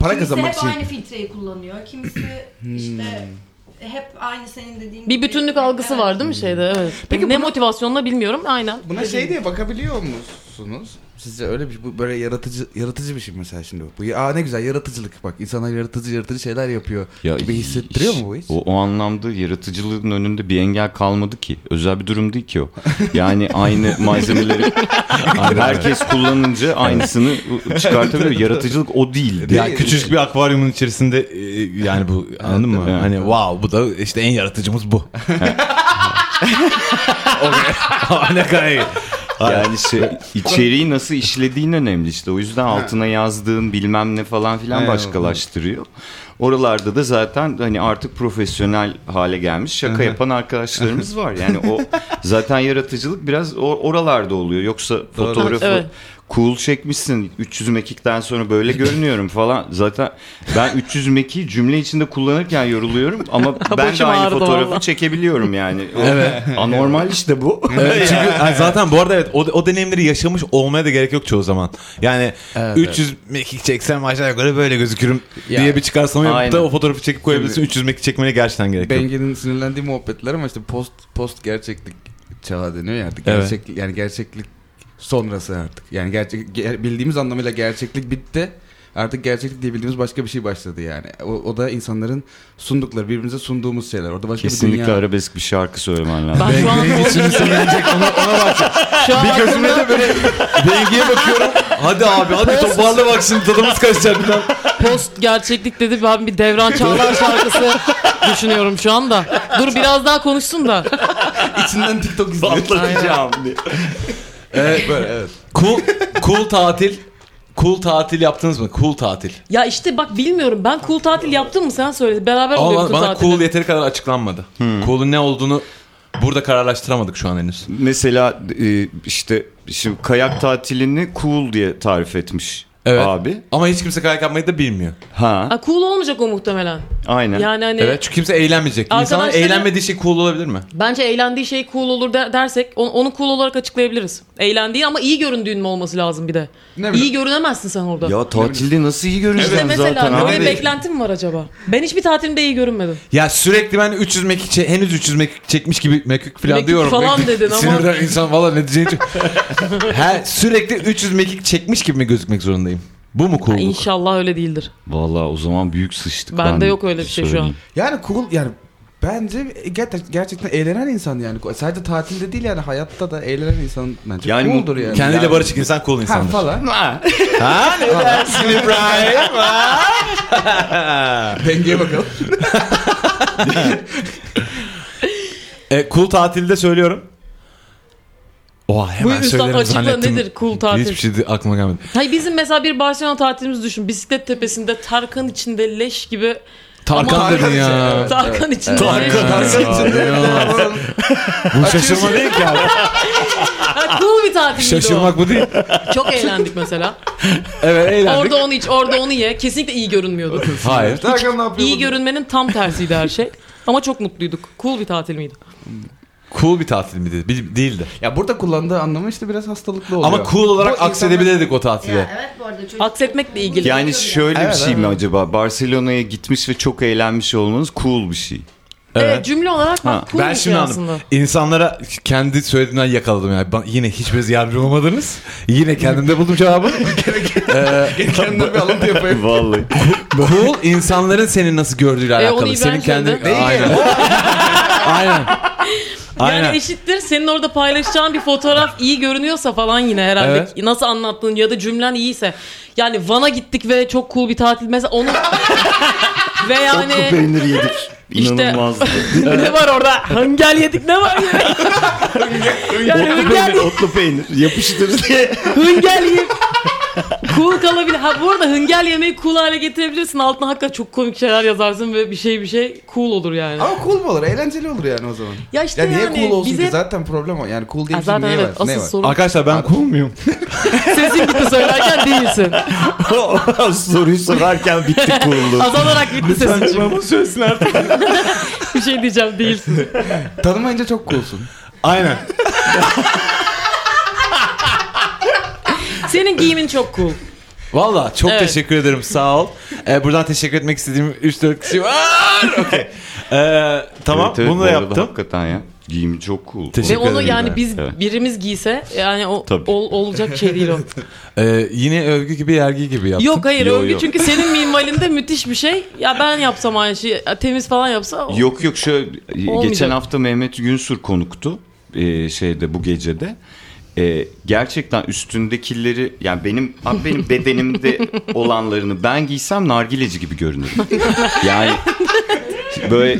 Para
kimisi
kazanmak
hep
için. Hmm.
aynı filtreyi kullanıyor. Kimisi işte hep aynı senin dediğin
bir
gibi-
bütünlük algısı
Evet.
var değil mi şeyde? Evet.
Peki
ne
buna-
motivasyonla bilmiyorum. Aynen.
Buna şey diye bakabiliyor musunuz? Sizce öyle bir bu böyle yaratıcı yaratıcı bir şey mi mesela şimdi bu. Bu aa ne güzel yaratıcılık bak insanlar yaratıcı yaratıcı şeyler yapıyor
Ya
gibi hissettiriyor
hiç-
mu bu his?
O, o anlamda yaratıcılığın önünde bir engel kalmadı ki. Özel bir durum değil ki o. Yani aynı malzemeleri herkes kullanınca aynısını çıkartabiliyor. Yaratıcılık o değildi.
Ya küçücük bir akvaryumun içerisinde e, yani bu anladın mı?
evet.
Hani wow bu da işte en yaratıcımız bu. Okey. ne kadar iyi.
Yani şey, içeriği nasıl işlediğin önemli işte. O yüzden altına yazdığın bilmem ne falan filan
Aynen.
başkalaştırıyor. Oralarda da zaten hani artık profesyonel hale gelmiş şaka yapan arkadaşlarımız var. Yani o zaten yaratıcılık biraz o- oralarda oluyor. Yoksa fotoğrafı
Evet.
cool çekmişsin 300 mekikten sonra böyle görünüyorum falan. Zaten ben 300 mekiği cümle içinde kullanırken yoruluyorum ama ben de
Başım
aynı
ağrıdı
fotoğrafı
vallahi.
çekebiliyorum yani. O
Evet.
Anormal işte bu.
Evet, çünkü yani zaten bu arada evet o, o deneyimleri yaşamış olmaya da gerek yok çoğu zaman. Yani 300 mekik çeksem aşağı yukarı böyle gözükürüm diye bir çıkarsam yapıp da
Aynen.
o fotoğrafı çekip koyabilirsin. 300 mekik çekmene gerçekten gerek yok.
Bengi'nin sinirlendiği muhabbetler ama işte post post gerçeklik çağı deniyor ya artık.
Evet.
Gerçek, yani gerçeklik sonrası artık. Yani gerçek ger- bildiğimiz anlamıyla gerçeklik bitti. Artık gerçeklik diye bildiğimiz başka bir şey başladı yani. O, o da insanların sundukları, birbirimize sunduğumuz şeyler. Orada başka bir
Kesinlikle
dünya.
arabesk bir şarkı söylemen lazım.
Ben şu an Şu an
Bir gözümle de böyle Bengi'ye bakıyorum. Hadi abi hadi toparla bak şimdi tadımız kaçacak. bir daha.
post gerçeklik dedi ben bir Devran Çağlar şarkısı düşünüyorum şu anda. Dur biraz daha konuşsun da.
İçinden TikTok izliyor.
diye.
Evet böyle evet. Cool, cool tatil. Cool tatil yaptınız mı? Cool tatil.
Ya işte bak bilmiyorum ben cool tatil yaptım mı sen söyle. Beraber
Ama
oluyor
bana,
cool
bana
tatili.
cool yeteri kadar açıklanmadı. Cool'un ne olduğunu burada kararlaştıramadık şu an henüz.
Mesela e, işte şimdi kayak tatilini cool diye tarif etmiş
Evet.
abi.
Ama hiç kimse kayak yapmayı da bilmiyor.
Ha
Ha, cool olmayacak o muhtemelen.
aynen.
Yani hani
Evet. Çünkü kimse eğlenmeyecek. İnsanların
Arkadaşları-
eğlenmediği şey cool olabilir mi?
bence eğlendiği şey cool olur der- dersek onu, onu cool olarak açıklayabiliriz. Eğlendiği ama iyi göründüğün mü olması lazım bir de.
Ne bileyim.
iyi görünemezsin sen orada.
Ya tatilde nasıl iyi
işte
görüneceğim
mesela
zaten
böyle
abi.
beklentim mi var acaba? Ben hiçbir tatilimde iyi görünmedim.
Ya sürekli ben 300 mekik çe- henüz 300 mekik çekmiş gibi mekik falan
Mekik
diyorum.
falan
Mekik-
dedin ama-
Sinirden insan valla ne diyeceğini çok... He, sürekli 300 mekik çekmiş gibi mi gözükmek zorundayım? Bu mu cool'luk?
İnşallah öyle değildir.
Vallahi o zaman büyük sıçtık.
Bende
ben
yok öyle bir şey şu an.
söyleyeyim.
Yani cool yani bence ger- gerçekten eğlenen insan yani. Sadece tatilde değil yani hayatta da eğlenen insan bence
Yani
cool'dur yani.
Kendiyle
Yani-
barışık insan cool
Ha
insandır.
falan.
Ha ne dersin İbrahim?
Bengi'ye bakalım.
E, cool tatilde söylüyorum. Oha hemen
Buyur Üstad,
söylerim
açıkla
zannettim.
nedir cool tatil?
Hiçbir şey de- aklıma gelmedi.
Hayır bizim mesela bir Barcelona tatilimizi düşün. Bisiklet tepesinde Tarkan içinde leş gibi.
Tarkan
Aman-
dedin ya.
Evet,
Tarkan içinde leş
Tarkan.
gibi.
Bu şaşırma değil ki abi.
Ha, cool bir tatildi
Şaşırmak bu değil.
o. Çok eğlendik mesela.
Evet eğlendik.
Orada onu iç, orada onu ye. Kesinlikle iyi görünmüyordu.
Hayır.
Tarkan ne yapıyor?
iyi
burada?
görünmenin tam tersiydi her şey. Ama çok mutluyduk. Cool bir tatil miydi?
Cool bir tatil miydi? Bil- değildi.
Ya burada kullandığı anlamı işte biraz hastalıklı oluyor.
Ama cool olarak
Bu insanlar-
aksedebilirdik o tatile.
Ya, evet bu arada çocuk.
Aksetmekle ilgili.
Yani şöyle
Evet,
bir şey mi
evet.
acaba? Barcelona'ya gitmiş ve çok eğlenmiş olmanız cool bir şey.
Evet,
Evet.
cümle olarak
Ha,
bak cool
ben
bir
şimdi
şey aslında.
anladım. İnsanlara kendi söylediğinden yakaladım yani. Bana yine hiçbiriniz yardımcı olmadınız. Yine kendimde buldum cevabı. Ee,
Kendime bir alıntı yapayım.
Vallahi.
cool insanların seni nasıl gördüğüyle
E, onu
alakalı. Senin
İbrahim
kendi...
söyledi.
Aynen. Aynen.
Yani
Aynen.
eşittir senin orada paylaşacağın bir fotoğraf iyi görünüyorsa falan yine herhalde.
Evet.
Nasıl anlattığın ya da cümlen iyiyse. Yani Van'a gittik ve çok cool bir tatil mesela onu... ve yani...
Otlu peynir yedik.
İşte-
İnanılmazdı.
ne var orada? Hıngel yedik ne var ya? yani
otlu, peynir,
hıngel,
otlu peynir. Yapıştır diye.
hıngel yiyip cool kalabilir. Ha bu arada hıngel yemeği cool hale getirebilirsin. Altına hakikaten çok komik şeyler yazarsın ve bir şey bir şey cool olur yani.
Ama cool mu olur? Eğlenceli olur yani o zaman.
Ya işte
Ya niye
yani
cool olsun
bize...
ki? Zaten problem o. Yani cool diye
Ha,
bir şey
zaten
niye
evet
var?
asıl
Ne var?
sorun
Arkadaşlar ben cool muyum?
sesin gitti söylerken değilsin.
Soruyu sorarken bitti kurulu.
Azalarak gitti sesin çünkü.
Bunu söylesin artık.
Bir şey diyeceğim değilsin.
Tanımayınca çok coolsun.
Aynen.
Senin giyimin çok cool.
Valla çok
Evet.
teşekkür ederim sağ ol. Ee, buradan teşekkür etmek istediğim 3-4 kişi var. Okey. Ee, tamam
Evet, evet,
bunu
bu
da
arada
yaptım.
Hakikaten ya. Giyimi çok cool.
Teşekkür
Ve onu
ederim
yani
ben.
biz
Evet.
birimiz giyse yani o
Tabii.
ol- olacak bir şey değil o.
Ee, yine övgü gibi yergi gibi yaptım.
Yok hayır
Yo,
övgü
yo.
çünkü senin minvalinde müthiş bir şey. Ya ben yapsam aynı şeyi ya temiz falan yapsa o-
Yok yok şöyle
Olmayacak.
geçen hafta Mehmet Günsür konuktu e, şeyde bu gecede. E, gerçekten üstündekileri yani benim abi benim bedenimde olanlarını ben giysem nargileci gibi görünürüm. Yani böyle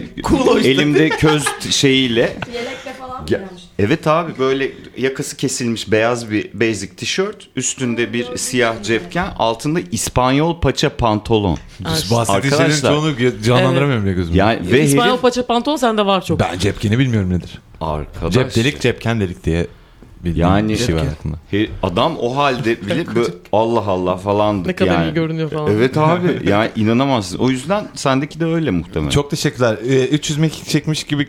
elimde köz şeyiyle
Yelekle falan mı
Ya-
gelmiş?
evet abi böyle yakası kesilmiş beyaz bir basic tişört, üstünde bir siyah cepken, altında İspanyol paça pantolon.
Biz bahsettiğin şeylerin
Arkadaşlar.
çoğunu ge- canlandıramıyorum bile gözümde.
Yani ve
İspanyol
herif
paça pantolon sende var çok.
Ben cepkeni bilmiyorum nedir.
arkadaş.
Cep delik cepken delik diye bildiğim
Yani-
bir şey var aklımda.
He- adam o halde bile bö- Allah Allah falan
Ne kadar
yani.
iyi görünüyor falan.
Evet abi yani inanamazsın. O yüzden sendeki de öyle muhtemelen.
Çok teşekkürler. Ee, 300 mekik çekmiş gibi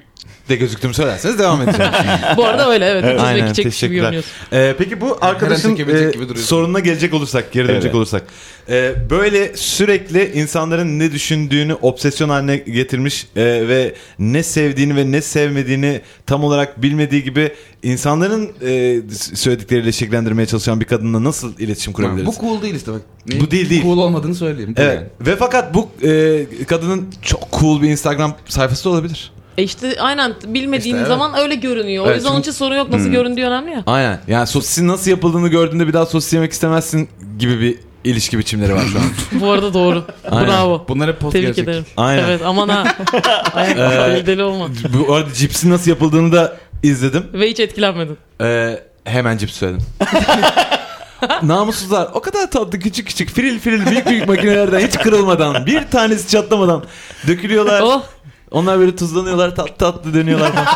de gözüktüğümü söylerseniz devam edeceğim.
Bu arada öyle evet. evet.
Aynen
Aynen, gibi
teşekkürler.
görünüyorsun.
Ee, peki bu arkadaşın
Herhalde kemircik
e,
gibi duruyorsun.
sorununa gelecek olursak, geri dönecek
Evet.
olursak. Ee, böyle sürekli insanların ne düşündüğünü obsesyon haline getirmiş e, ve ne sevdiğini ve ne sevmediğini tam olarak bilmediği gibi insanların e, s- söyledikleriyle şekillendirmeye çalışan bir kadınla nasıl iletişim kurabiliriz?
Bu cool değil işte bak. Neyin
Bu değil, değil.
Cool olmadığını söyleyeyim. Bu
Evet.
yani.
Ve fakat bu e, kadının çok cool bir Instagram sayfası da olabilir.
E işte aynen bilmediğin
İşte evet.
zaman öyle görünüyor. O
Evet,
yüzden onun
çünkü-
için sorun yok nasıl göründüğü önemli ya.
Aynen. Yani sosisin nasıl yapıldığını gördüğünde bir daha sosis yemek istemezsin gibi bir ilişki biçimleri var şu an.
Bu arada doğru.
Aynen.
Bravo.
Bunlar hep post
Tebrik
gelecek.
ederim.
Aynen.
Evet aman ha. Ay, deli deli olma.
Bu arada cipsin nasıl yapıldığını da izledim.
Ve hiç etkilenmedin.
Ee, hemen cips söyledim. Namussuzlar o kadar tatlı küçük küçük firil firil büyük büyük makinelerden hiç kırılmadan bir tanesi çatlamadan dökülüyorlar.
Oh.
Onlar böyle tuzlanıyorlar tatlı tatlı dönüyorlar falan.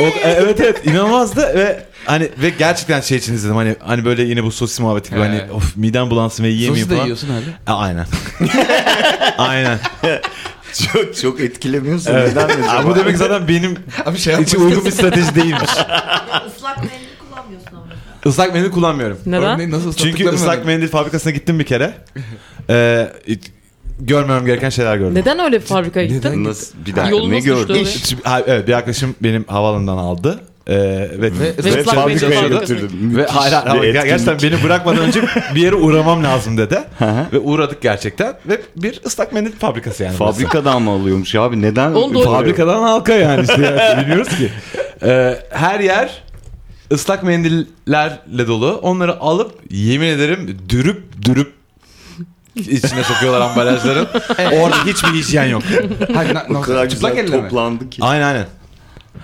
O- e, evet evet inanılmazdı ve hani ve gerçekten şey için izledim hani hani böyle yine bu sosis muhabbeti gibi hani
He.
of midem bulansın ve yiyemeyeyim
Sosu da
falan.
yiyorsun hala.
E, aynen. aynen.
çok, çok etkilemiyorsun. Neden mi
Aa,
acaba?
bu demek zaten benim
Abi şey
hiç uygun bir strateji değilmiş.
Ya Islak mendil kullanmıyorsun ama.
Islak mendil kullanmıyorum.
Neden?
Örneğin nasıl
Çünkü
ıslattıklarını
ıslak
öğren.
mendil fabrikasına gittim bir kere. Ee, hiç görmemem gereken şeyler gördüm.
Neden öyle bir fabrikaya gittin?
Nasıl, bir dakika
Yolun
ne
nasıl
gördün?
düştü?
İş- ha, evet bir arkadaşım benim havaalanından aldı. Ee, ve ve,
Ve ıslak mendil
fabrikaya
fabrikası.
götürdüm.
ve hayır, hayır, hayır,
etkinlik.
gerçekten beni bırakmadan önce bir yere uğramam lazım dedi.
hı.
ve uğradık gerçekten. Ve bir ıslak mendil fabrikası yani. burası.
Fabrikadan mı alıyormuş ya abi? Neden?
Onu doğru-
Fabrikadan halka yani işte yani bilmiyoruz ki. Ee, her yer ıslak mendillerle dolu. Onları alıp yemin ederim dürüp dürüp içine sokuyorlar ambalajların. Orada hiçbir hijyen yok.
Hayır, na-
O
nasıl-
kadar
çıplak
güzel
elle mi?
toplandı ki.
Aynen aynen.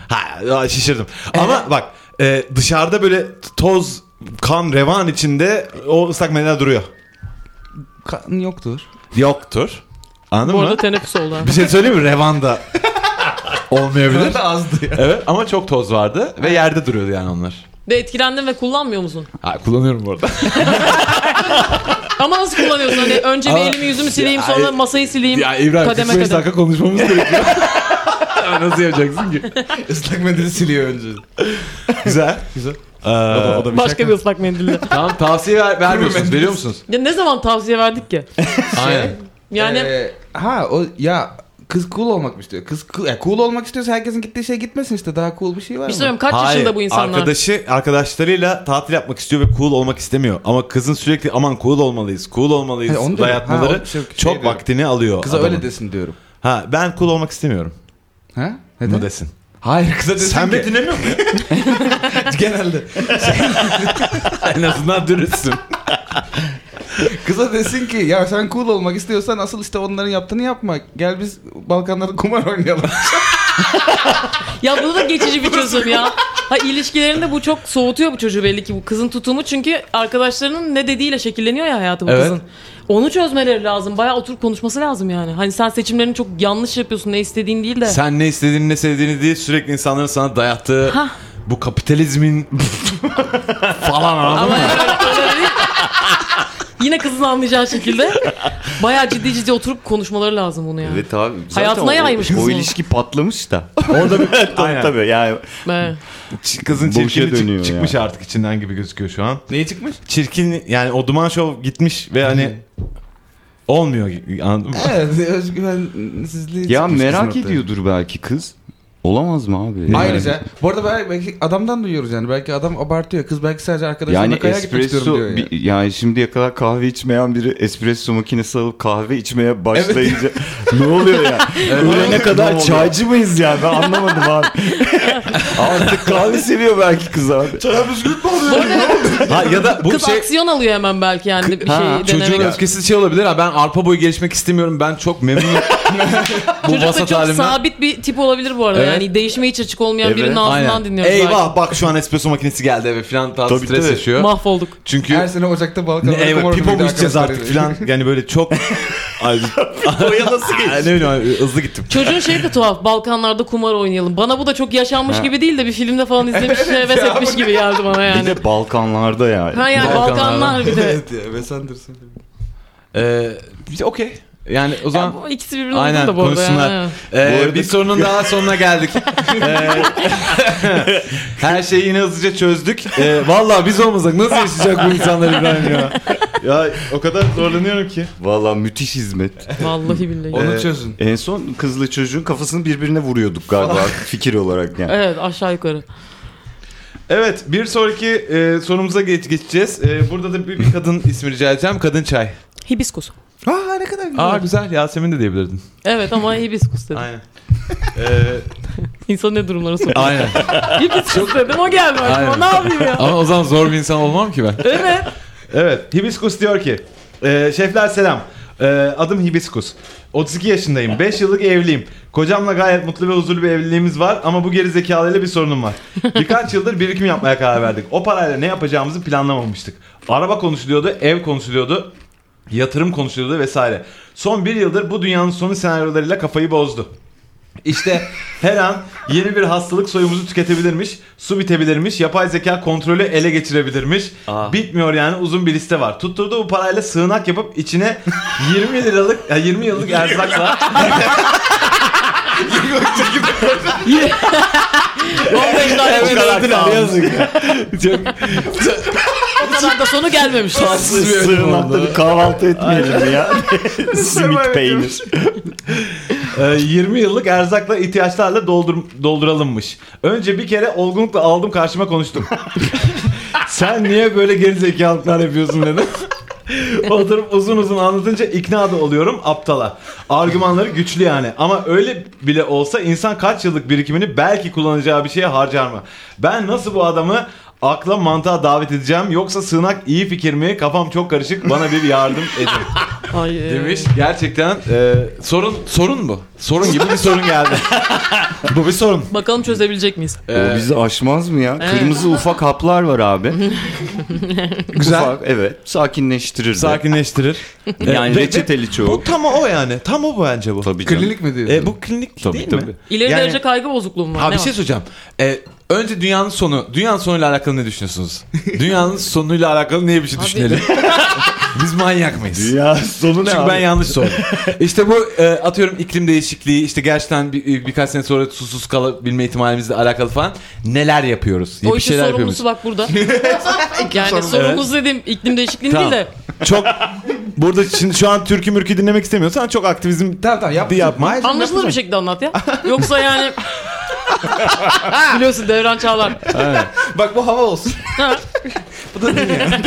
Ha, ya şaşırdım. Ama bak e, dışarıda böyle toz, kan, revan içinde o ıslak mendiller duruyor.
Kan yoktur.
Yoktur. Anladın
Bu
mı?
arada teneffüs oldu. ha.
Bir şey söyleyeyim mi? Revan da olmayabilir.
Kan da azdı ya.
evet ama çok toz vardı ve yerde duruyordu yani onlar.
Ve etkilendin ve kullanmıyor musun?
Ha, kullanıyorum bu arada.
Ama nasıl kullanıyorsun? Hani önce bir
Ama-
elimi yüzümü sileyim
Ya,
sonra
ay-
masayı sileyim.
ya İbrahim
kademe
45
kademe.
dakika konuşmamız gerekiyor. Ya Nasıl yapacaksın ki?
Islak mendili siliyor önce. Şey,
Güzel. Güzel. Ee,
Başka bir ıslak mendille.
tamam tavsiye ver, vermiyorsunuz veriyor musunuz?
ya ne zaman tavsiye verdik ki?
Aynen.
Yani
Ee, e, ha o ya Kız cool olmak mı istiyor? Kız cool, ya cool olmak istiyorsa herkesin gittiği şeye gitmesin işte. Daha cool bir şey var
Bir şey
mı?
söyleyeyim kaç
Hayır,
yaşında bu insanlar?
Arkadaşı arkadaşlarıyla tatil yapmak istiyor ve cool olmak istemiyor. Ama kızın sürekli aman cool olmalıyız, cool olmalıyız
Ha, onu diyorum.
dayatmaları
Ha, o şey- şey
çok
diyorum.
vaktini alıyor.
Kıza
adamın.
öyle desin diyorum.
Ha ben cool olmak istemiyorum.
Ha?
Bunu
Neden?
desin.
Hayır kıza desin
Sen
ki.
beni dinlemiyor musun?
Genelde.
en azından dürüstsün.
Kıza desin ki ya sen cool olmak istiyorsan asıl işte onların yaptığını yapma. Gel biz Balkanlarda kumar oynayalım.
Ya bu da geçici bir çözüm ya. Ha ilişkilerinde bu çok soğutuyor bu çocuğu belli ki bu kızın tutumu çünkü arkadaşlarının ne dediğiyle şekilleniyor ya hayatı bu
Evet.
kızın. Onu çözmeleri lazım. Bayağı oturup konuşması lazım yani. Hani sen seçimlerini çok yanlış yapıyorsun ne istediğin değil de.
Sen ne istediğini ne sevdiğini değil sürekli insanların sana dayattığı
Hah.
bu kapitalizmin falan anladın
Ama
mı?
yani öyle değil. Yine kızın anlayacağı şekilde bayağı ciddi ciddi oturup konuşmaları lazım bunu yani.
Evet abi. Zaten
Hayatına
o-
yaymış
O,
kızı.
ilişki patlamış da. Orada bir... tabii tabii yani.
Evet.
Ç- Kızın
Boşa
çirkinliği
dönüyor
çık-
ya.
çıkmış artık içinden gibi gözüküyor şu an.
Neye çıkmış?
Çirkin yani o duman şov gitmiş ve hani olmuyor gibi, anladın mı?
Evet özgüvensizliği
Ya
çıkmış
merak
kızın ortaya.
ediyordur belki kız. Olamaz mı abi? Yani-
Ayrıca bu arada belki, belki adamdan duyuyoruz yani. Belki adam abartıyor. Kız belki sadece arkadaşlarına
Yani
kaya gitmek istiyorum
espresso
diyor yani.
bi- yani. şimdiye kadar kahve içmeyen biri espresso makinesi alıp kahve içmeye başlayınca ne oluyor ya? Ölene kadar çaycı mıyız ya? Ben anlamadım abi. Artık kahve seviyor belki kız abi.
ha, ya da bu
Kız
şey
aksiyon alıyor hemen belki yani bir şey
Ha,
denemek.
çocuğun öfkesi şey olabilir ha ben arpa boyu gelişmek istemiyorum ben çok memnunum. bu
Çocuk da
vasat
çok
halimden.
sabit bir tip olabilir bu arada.
Evet.
Yani değişime hiç açık olmayan
Evet.
birinin ağzından
Aynen.
dinliyoruz.
Eyvah
belki.
bak şu an espresso makinesi geldi eve filan tarzı
Tabii,
stres
tabii.
yaşıyor.
Mahvolduk.
Çünkü
Her sene Ocak'ta
Ne,
Balkanlarda
eyvah
kumar
pipo mu
oynayacak
içeceğiz
arkadaşlar
artık
geliyor.
filan yani böyle çok Ay,
Oraya nasıl
ne bileyim abi, hızlı gittim.
Çocuğun şeyi de tuhaf. Balkanlarda kumar oynayalım. Bana bu da çok yaşanmış gibi değil de bir filmde falan izlemiş, heves etmiş gibi geldi bana
Bir
yani.
de Balkanlarda ya.
Ha yani
Balkanlarda.
Balkanlar bir de.
Evet ya Wes Anderson.
Ee, bir de okey. Yani o zaman
Ya bu ikisi birbirine
Aynen,
uygun da bu arada.
konuşsunlar.
yani.
ee,
Bu arada-
bir sorunun daha sonuna geldik. Ee, her şeyi yine hızlıca çözdük. Ee, vallahi biz olmasak nasıl yaşayacak bu insanlar İbrahim ya? Ya o kadar zorlanıyorum ki.
Valla müthiş hizmet.
Vallahi billahi.
Onu
Ee,
çözün.
En son kızla çocuğun kafasını birbirine vuruyorduk galiba fikir olarak yani.
Evet aşağı yukarı.
Evet bir sonraki e, sorumuza geç, geçeceğiz. Ee, burada da bir, bir kadın ismi rica edeceğim. Kadın çay.
Hibiskus.
Aa ne kadar güzel.
Aa güzel Yasemin de diyebilirdin.
Evet ama hibiskus dedim.
Aynen. Ee,
İnsan ne durumlara sokuyor.
aynen.
hibiskus dedim o geldi aklıma.
Aynen.
Ne yapayım ya?
Ama o zaman zor bir insan olmam ki ben.
Evet.
Evet. Hibiskus diyor ki. "Ee, şefler selam. Ee, adım Hibiskus. 32 yaşındayım. 5 yıllık evliyim. Kocamla gayet mutlu ve huzurlu bir evliliğimiz var ama bu geri zekalıyla bir sorunum var. Birkaç yıldır birikim yapmaya karar verdik. O parayla ne yapacağımızı planlamamıştık. Araba konuşuluyordu, ev konuşuluyordu, yatırım konuşuluyordu vesaire. Son bir yıldır bu dünyanın sonu senaryolarıyla kafayı bozdu. İşte her an yeni bir hastalık soyumuzu tüketebilirmiş, su bitebilirmiş, yapay zeka kontrolü ele geçirebilirmiş. Bitmiyor yani uzun bir liste var. Tutturduğu bu parayla sığınak yapıp içine 20 liralık, ya 20 yıllık erzakla
Yine- 15 dakika
O kadar
öldüler.
kalmış.
O kadar da sonu gelmemiş.
Sığınakta bir kahvaltı etmeyelim ya. Simit peynir.
Ee, 20 yıllık erzakla ihtiyaçlarla doldur, dolduralımmış. Önce bir kere olgunlukla aldım karşıma konuştum. Sen niye böyle gerizekalıklar yapıyorsun dedim. Oturup uzun uzun anlatınca ikna da oluyorum aptala. Argümanları güçlü yani. Ama öyle bile olsa insan kaç yıllık birikimini belki kullanacağı bir şeye harcar mı? Ben nasıl bu adamı akla mantığa davet edeceğim yoksa sığınak iyi fikir mi? Kafam çok karışık bana bir yardım edin.
Ay, e,
Demiş gerçekten e, sorun sorun bu. Sorun gibi bir sorun geldi. bu bir sorun.
Bakalım çözebilecek miyiz?
Ee,
o bizi aşmaz mı ya?
Evet.
Kırmızı ufak haplar var abi.
Güzel.
Ufak, evet. Sakinleştirir de.
Sakinleştirir.
Yani
Ve- ve
reçeteli çoğu.
Bu tam o yani. Tam o bence bu.
Tabii canım.
Klinik mi diyorsun?
E, bu klinik
Tabii,
değil mi?
tabii.
İleri
Yani-
derece kaygı bozukluğum var.
Ha
ne
bir şey
var?
söyleyeceğim. E, önce dünyanın sonu. Dünyanın sonuyla alakalı ne düşünüyorsunuz? dünyanın sonuyla alakalı niye bir şey
Abi-
düşünelim? Biz manyak mıyız?
Ya sonu ne
Çünkü
abi?
ben yanlış sordum. işte bu e, atıyorum iklim değişikliği işte gerçekten bir, birkaç sene sonra susuz kalabilme ihtimalimizle alakalı falan neler yapıyoruz? diye
O
bir
işin
şeyler
sorumlusu bak burada. yani sorumlusu dediğim iklim değişikliğini
Tamam.
değil de
Çok Burada şimdi şu an türkü mürkü dinlemek istemiyorsan çok aktivizm
Tamam tamam yap.
Yapma.
Hayır, canım,
Anlaşılır
yapma.
bir şekilde anlat ya. Yoksa yani... Biliyorsun Devran Çağlar.
Bak bu hava olsun.
Ha.
Bu da dünya.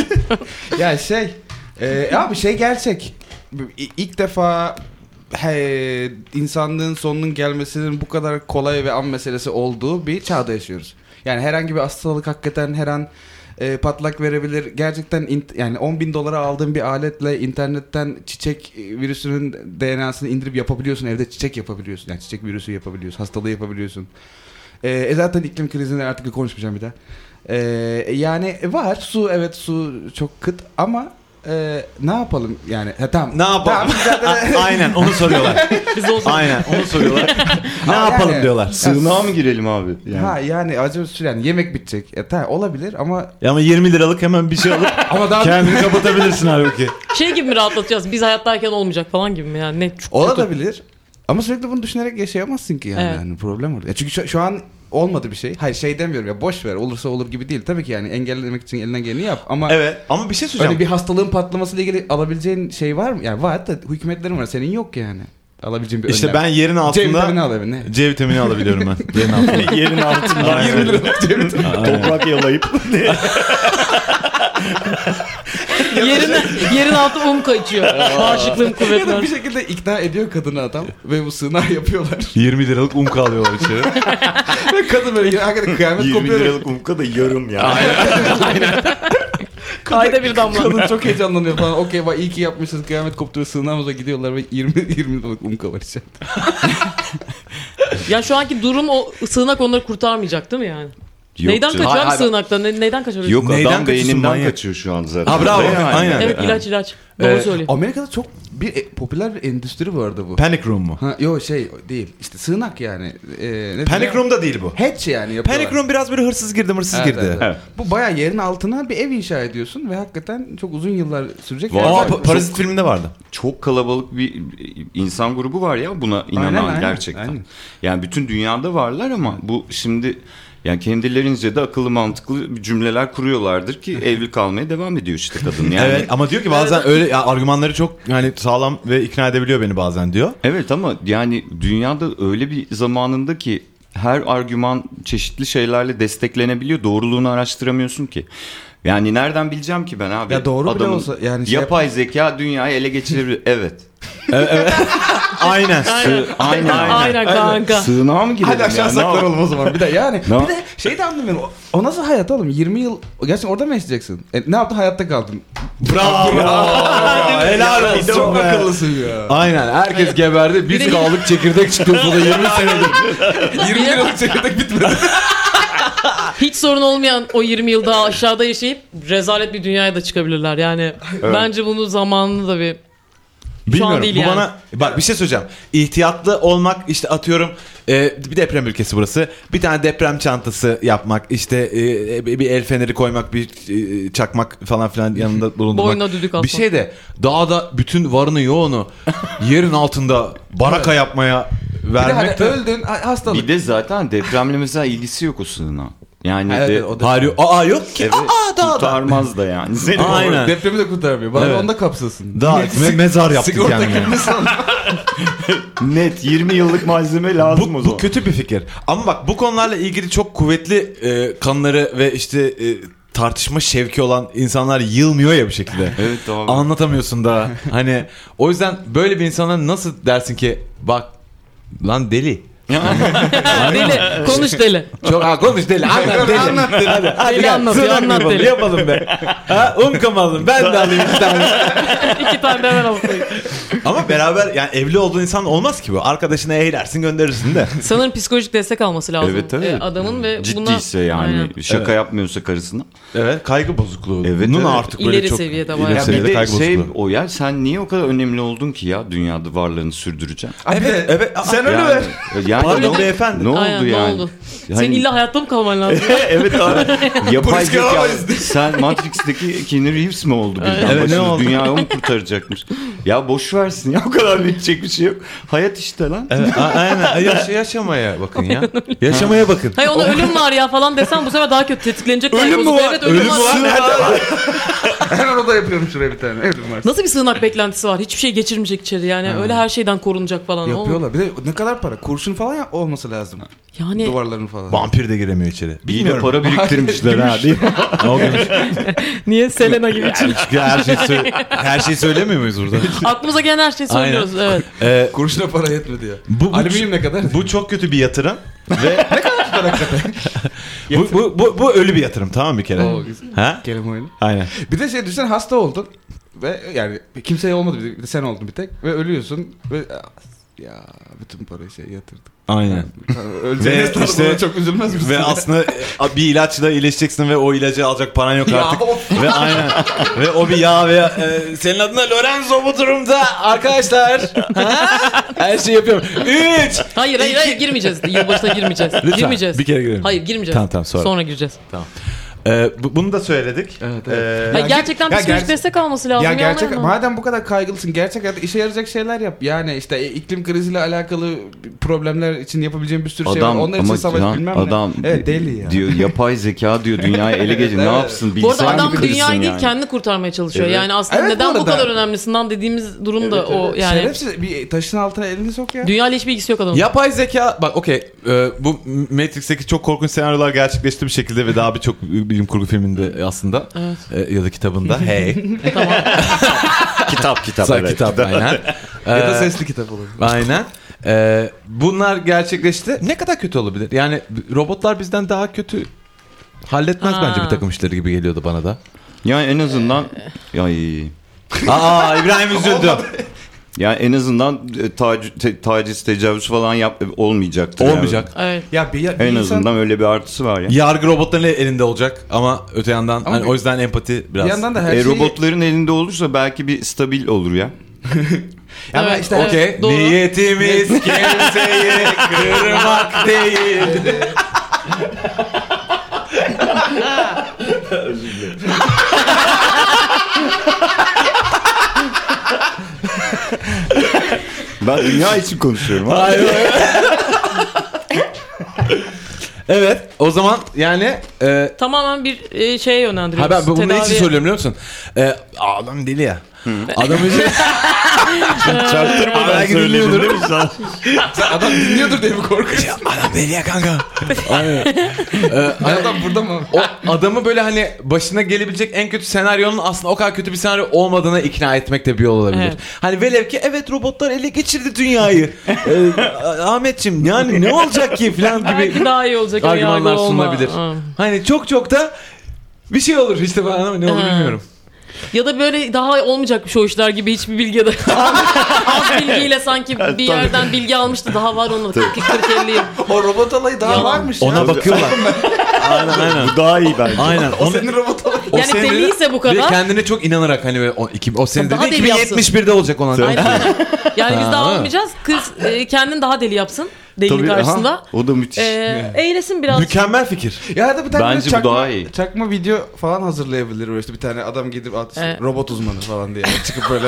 ya şey, e, abi şey gerçek. İ- İlk defa he, insanlığın sonunun gelmesinin bu kadar kolay ve an meselesi olduğu bir çağda yaşıyoruz. Yani herhangi bir hastalık hakikaten her an e, patlak verebilir. Gerçekten int- yani 10 bin dolara aldığın bir aletle internetten çiçek e, virüsünün DNA'sını indirip yapabiliyorsun. Evde çiçek yapabiliyorsun. Yani çiçek virüsü yapabiliyorsun. Hastalığı yapabiliyorsun. E, e zaten iklim krizinden artık konuşmayacağım bir daha. Ee, yani var su evet su çok kıt ama e, ne yapalım yani ha, tamam
Ne yapalım?
Tamam, zaten-
Aynen onu soruyorlar.
Biz olsun.
Aynen onu soruyorlar. ne
Ama
yapalım
yani-
diyorlar.
Sığınağa mı girelim abi? Yani.
ha yani acaba süren yemek bitecek e, tamam olabilir ama
Ya ama 20 liralık hemen bir şey alıp
ama daha
kendini kapatabilirsin halbuki.
Şey gibi mi rahatlatacağız? Biz hayattayken olmayacak falan gibi mi yani? Ne? Çok kötü.
olabilir ama sürekli bunu düşünerek yaşayamazsın ki yani,
Evet.
Yani problem orada Ya çünkü şu, şu an olmadı bir şey hayır şey demiyorum ya boş ver olursa olur gibi değil tabii ki yani engellemek için elinden geleni yap ama
Evet ama bir şey söyleyeceğim.
öyle bir hastalığın patlamasıyla ilgili alabileceğin şey var mı yani var da hükümetlerin var senin yok yani alabileceğin bir
İşte
önlem.
ben yerin
C vitamini
altında
al evine.
C vitamini alabiliyorum ben. Yerin altında. yerin altında.
20 lira C vitamini.
Toprak yalayıp.
Yerine, yerin altı um kaçıyor. Bağışıklığım
Ya da
kuvvetli.
bir şekilde ikna ediyor kadını adam ve bu sığınağı yapıyorlar.
20 liralık un kalıyorlar içeri.
ve kadın böyle ya hakikaten kıyamet
20
kopuyor.
liralık umka da yarım ya.
Ayda bir damla.
Kadın çok heyecanlanıyor falan. Okey bak iyi ki yapmışız kıyamet koptu ve sığınağımıza gidiyorlar ve 20 20 liralık umka var içeride.
Ya şu anki durum o sığınak onları kurtarmayacak değil mi yani?
Yok
neyden
canım.
kaçıyor
Hayır,
abi
hayır.
sığınaktan? Ne- neyden kaçıyor?
Yok
Neyden
adam
kaçıyorsun
beyninden
manyak?
kaçıyor şu an zaten.
Ha bravo.
Beyninden.
Aynen.
Evet ilaç ilaç. Doğru
Ee,
söylüyor.
Amerika'da çok bir e, popüler bir endüstri bu arada bu.
Panic Room mu?
Ha, yo şey değil. İşte sığınak yani. Ee, ne
Panic
diyor?
Room da değil bu.
Hatch yani yapıyorlar.
Panic Room biraz böyle hırsız girdi hırsız
Evet,
girdi.
evet, evet.
Evet.
Bu bayağı yerin altına bir ev inşa ediyorsun ve hakikaten çok uzun yıllar sürecek.
Var.
Yani
Aa,
Aa,
bak-
pa- Parazit filminde vardı.
Çok kalabalık bir insan grubu var ya buna inanan
Aynen, aynen,
gerçekten.
aynen.
Yani bütün dünyada varlar ama bu şimdi yani kendilerince de akıllı mantıklı cümleler kuruyorlardır ki evli kalmaya devam ediyor işte kadın. Yani
Evet ama diyor ki bazen öyle ya, argümanları çok yani sağlam ve ikna edebiliyor beni bazen diyor.
Evet ama yani dünyada öyle bir zamanında ki her argüman çeşitli şeylerle desteklenebiliyor. Doğruluğunu araştıramıyorsun ki. Yani nereden bileceğim ki ben abi?
Ya doğru bile olsa yani şey-
yapay zeka dünyayı ele geçirebilir. Evet.
Aynen.
Aynen.
Aynen kanka.
Sığınağa mı girelim
Hadi aşağı
ya? Ne yap-
saklanalım o zaman. Bir de yani.
Ne
bir de şey de anlamıyorum. O, o nasıl hayat oğlum? 20 yıl gerçekten orada mı yaşayacaksın? E, ne yaptın? Hayatta kaldın.
Bravo. Helal olsun.
Çok
be.
akıllısın ya.
Aynen herkes geberdi.
Bir de-
Biz kaldık çekirdek çıktı da 20 senedir.
20 yıl çekirdek bitmedi.
Hiç sorun olmayan o 20 yıl daha aşağıda yaşayıp rezalet bir dünyaya da çıkabilirler. Yani bence bunu zamanını da bir
Bilmiyorum.
değil
bu
yani.
bana bak bir şey söyleyeceğim. İhtiyatlı olmak işte atıyorum e, bir deprem ülkesi burası. Bir tane deprem çantası yapmak, işte e, bir el feneri koymak, bir e, çakmak falan filan yanında bulundurmak.
Boynuna düdük asmak.
Bir şey de dağda bütün varını yoğunu yerin altında baraka yapmaya
Bir de hani
vermek de
öldün ha- hastalık.
Bir de zaten depremle mesela ilgisi yok o sığınağın. Yani
Evet,
de,
evet, o da-
Hayır, aa yok ki.
eve
Aa dağda.
kurtarmaz da yani. Seni
Aynen.
Depremi de kurtarmıyor. Bana
Evet.
onda kapsasın.
Dağ me- mezar yaptık
Sigorta
yani.
net 20 yıllık malzeme lazım o
Bu, bu
zaman.
kötü bir fikir. Ama bak bu konularla ilgili çok kuvvetli e, kanları ve işte e, tartışma şevki olan insanlar yılmıyor ya bir şekilde.
Evet abi.
Anlatamıyorsun da. hani o yüzden böyle bir insana nasıl dersin ki bak lan deli.
deli konuş deli.
Çok ha konuş deli. Anlat deli. Anlat deli. Hadi, hadi
Deli
gel.
anlatıyor,
Sığınak
anlat
yapalım,
deli.
Yapalım be. Ha, um kamalım. Ben de alayım bir tane.
İki tane de ben alayım.
Ama beraber yani evli olduğun insan olmaz ki bu. Arkadaşına eğlersin gönderirsin de.
Sanırım psikolojik destek alması lazım.
Evet, evet.
Ee, adamın ve
Ciddiyse yani
Aynen.
şaka yapmıyorsa karısına.
Evet kaygı bozukluğu.
Evet,
Nun
evet.
artık böyle
İleri
çok
seviyede
ileri
bayağı.
Ya
seviyede
bir de
kaygı
şey
bozukluğu.
o ya sen niye o kadar önemli oldun ki ya dünyada varlığını sürdüreceksin?
Abi,
Evet, evet. Sen
Yani, Yani
Pardon
ne-
beyefendi.
Ne oldu
Aynen, ne
yani?
oldu?
Yani-
Senin illa hayatta mı kalman lazım?
evet abi. Yapay
Polis
zeka.
kalamayız
Sen Matrix'teki Keanu Reeves mi oldu birden?
Evet, ne
Başını
oldu?
Dünyayı mı kurtaracakmış? Ya boş versin ya o kadar bitecek bir şey yok. Hayat işte lan.
Evet, a- aynen. Yaş- yaşamaya bakın ya. Yaşamaya bakın.
Hayır ona ölüm var ya falan desem bu sefer daha kötü tetiklenecek. Ölüm mü var? Evet, ölüm, var.
Hemen oda yapıyorum şuraya bir tane. Evrim var.
Nasıl bir sığınak beklentisi var? Hiçbir şey geçirmeyecek içeri yani. Öyle her şeyden korunacak falan. Oğlum,
Yapıyorlar. Bir de ne kadar para? Kurşun falan ya- olması lazım.
Yani
Duvarların falan.
Vampir de giremiyor içeri.
İyi de para biriktirmişler ha değil mi?
niye Selena gibi? için?
Çünkü her şeyi, sö- her şeyi söylemiyor muyuz burada?
Aklımıza gelen her şeyi
Aynen.
söylüyoruz. Evet.
Ee,
Kurşuna para yetmedi ya.
bu, bu,
Alüminyum ne kadar?
bu çok kötü bir yatırım. Ve ne kadar bu, bu, bu, bu ölü bir yatırım tamam mı bir kere?
Oo, güzel.
ha?
Kerem oyunu.
Aynen.
Bir de şey düşünsene hasta oldun. Ve yani kimseye olmadı bir de, bir de sen oldun bir tek. Ve ölüyorsun. Ve ya bütün parayı şey yatırdık.
Aynen.
Öleceğiniz
Ve işte-
işte, çok üzülmez misin?
ve aslında e, bir ilaçla iyileşeceksin ve o ilacı alacak paran yok
Ya
artık.
of.
ve aynen. Ve o bir yağ ve e,
Senin adına Lorenzo bu durumda arkadaşlar. Ha? Her şeyi yapıyorum. 3
Hayır hayır hayır girmeyeceğiz. Yılbaşına girmeyeceğiz. girmeyeceğiz.
bir kere girelim.
Hayır girmeyeceğiz.
Tamam, tamam, sonra.
gireceğiz.
E, bu- bunu da söyledik.
Evet,
E,
Ya gerçekten
ya
psikolojik
gerçek-
destek alması lazım.
Ya
yapmayın
gerçek
ama.
madem bu kadar kaygılısın gerçek hayatta işe yarayacak şeyler yap. Yani işte e, iklim kriziyle alakalı problemler için yapabileceğin bir sürü şey var.
Adam
Onlar için
ama
savaş
lan
bilmem
adam
ne. Evet deli ya.
diyor yapay zeka diyor dünyayı ele geçir. Ne
Evet.
yapsın
Bu arada
bilgisayar mı
adam
kırsın
dünyayı değil
yani?
kendini kurtarmaya çalışıyor.
Evet.
Yani aslında
Evet, bu
neden bu,
arada.
kadar önemlisinden dediğimiz durum da
Evet,
o
evet.
yani.
Şerefsiz bir taşın altına elini sok ya.
Dünya ile hiçbir ilgisi yok adamın.
Yapay zeka bak okey e, bu Matrix'teki çok korkunç senaryolar gerçekleşti bir şekilde ve daha birçok bilim kurgu filminde aslında
Evet.
E, ya da kitabında hey
Kitap kitap.
Sa-
evet.
kitap aynen.
Ya da
E,
sesli kitap olur.
Aynen. E, bunlar gerçekleşti. Ne kadar kötü olabilir? Yani robotlar bizden daha kötü halletmez
Aa.
bence bir takım işleri gibi geliyordu bana da.
Yani en azından ay
Aa İbrahim üzüldü.
yani en azından e, tac- te- taciz tecavüz falan yap e, olmayacaktır. yani.
Olmayacak.
Evet.
Ya bir, bir
En
insan-
azından öyle bir artısı var ya.
Yargı robotların elinde olacak ama öte yandan
Ama
hani
bir-
o yüzden empati biraz.
bir yandan da her
E,
şeyi...
robotların elinde olursa belki bir stabil olur ya.
Ya ben
Evet,
işte-
evet,
Okey.
doğru.
Niyetimiz kimseyi kırmak değil.
Ben dünya için konuşuyorum. ha.
Hayır. evet. O zaman yani e,
Tamamen bir e, şeye
ha
yönlendiriyoruz.
ben bunu ne için
Tedaviye.
söylüyorum biliyor musun? E, adam deli ya. şey- Adam için
Çaktırmadan
Belki
söyledin
dinliyordur.
değil mi sen?
Adam dinliyordur diye mi korkuyorsun?
adam deli ya kanka. E,
Ya adam burada mı?
O adamı böyle hani başına gelebilecek en kötü senaryonun aslında o kadar kötü bir senaryo olmadığına ikna etmek de bir yol olabilir.
Evet.
Hani velev ki evet robotlar ele geçirdi dünyayı. Ee, Ahmetçim yani ne olacak ki falan gibi
Belki daha iyi olacak. hani
argümanlar
yargı olma.
sunulabilir.
Ha.
Hani çok çok da bir şey olur işte ben ama ne olur
Ha.
bilmiyorum.
Ya da böyle daha olmayacakmış o işler gibi hiçbir bilgi de. Az bilgiyle sanki bir yerden bilgi almıştı daha var onun. 40 40 50
O robot alayı daha
Yalan.
varmış ya.
Ona bakıyorlar. aynen aynen.
Bu daha iyi bence.
Aynen.
O
Onu-
senin robot alayı.
Yani
senede-
deliyse bu kadar.
Ve kendine çok inanarak hani ve o, iki, o senede
Daha
de
deli yapsın.
2071'de olacak olan.
Aynen. Hani Yani biz
Ha.
daha olmayacağız. Kız e, kendini daha deli yapsın. Delinin
Tabii, aha,
karşısında.
o da müthiş.
E, eğlesin biraz.
Mükemmel fikir.
Ya da bir
Bence
tane böyle
bu
çakma,
daha iyi.
çakma video falan hazırlayabilir. Böyle işte bir tane adam gidip at,
Evet.
robot uzmanı falan diye çıkıp böyle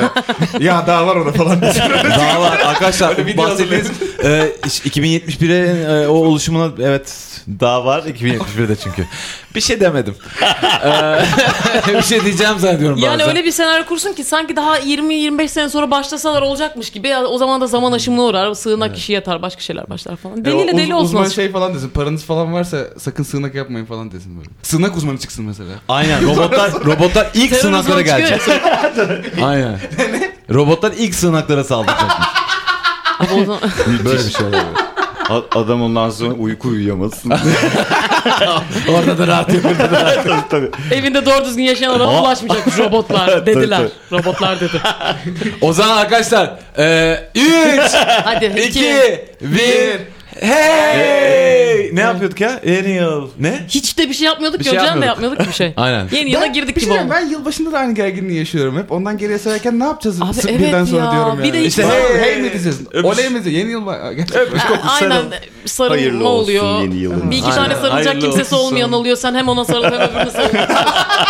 ya daha var ona falan diye.
Daha var arkadaşlar
video
bahsettiğiniz e, iş- 2071'e e, o oluşumuna evet daha var 2071'de çünkü. Bir şey demedim. E, bir şey diyeceğim zannediyorum
yani
bazen.
öyle bir senaryo kursun ki sanki daha 20-25 sene sonra başlasalar olacakmış gibi. Ya, o zaman da zaman aşımına uğrar. Sığınak kişi yatar. Başka şeyler başlar falan. Deliyle
O E, uz-
deli olsun.
Uzman
aslında.
şey falan desin. Paranız falan varsa sakın sığınak yapmayın falan desin böyle. Sığınak uzmanı çıksın mesela.
Aynen robotlar robotlar ilk
Terör uzmanı
sığınaklara
çıkıyor ya
gelecek. Aynen. Robotlar ilk sığınaklara saldıracakmış.
Ama o zaman-
Böyle bir şey oluyor.
A- Adam ondan sonra uyku uyuyamasın.
Orada da rahat yapın.
tabii tabii.
Evinde doğru düzgün yaşayan adama ulaşmayacakmış robotlar dediler. robotlar dedi.
O zaman arkadaşlar e, 3,
Hadi iki.
2, 1 Hey! Ne yapıyorduk ya? Yeni yıl. Ne?
Hiç de bir şey yapmıyorduk
Bir
ki
şey
hocam da yapmıyorduk bir şey.
Aynen.
Yeni yıla girdik
bir şey
gibi
diyeyim,
oldu.
ben yılbaşında da aynı gerginliği yaşıyorum hep. Ondan geriye sayarken ne yapacağız
Abi
Sık
evet
birden sonra
ya,
diyorum
bir
yani.
de hiç-
İşte hey,
Hey,
hey mi diyeceğiz?
öpüş-
Oley mi diyeceğiz? Yeni yıl var.
Öpüş kokusu.
Aynen.
Hayırlı
Sarılma
olsun
oluyor.
yeni yılın.
Bir iki
Aynen.
tane sarılacak
Hayırlı
kimsesi
olsun.
olmayan oluyor. Sen hem ona sarıl hem öbürüne sarılıyorsun.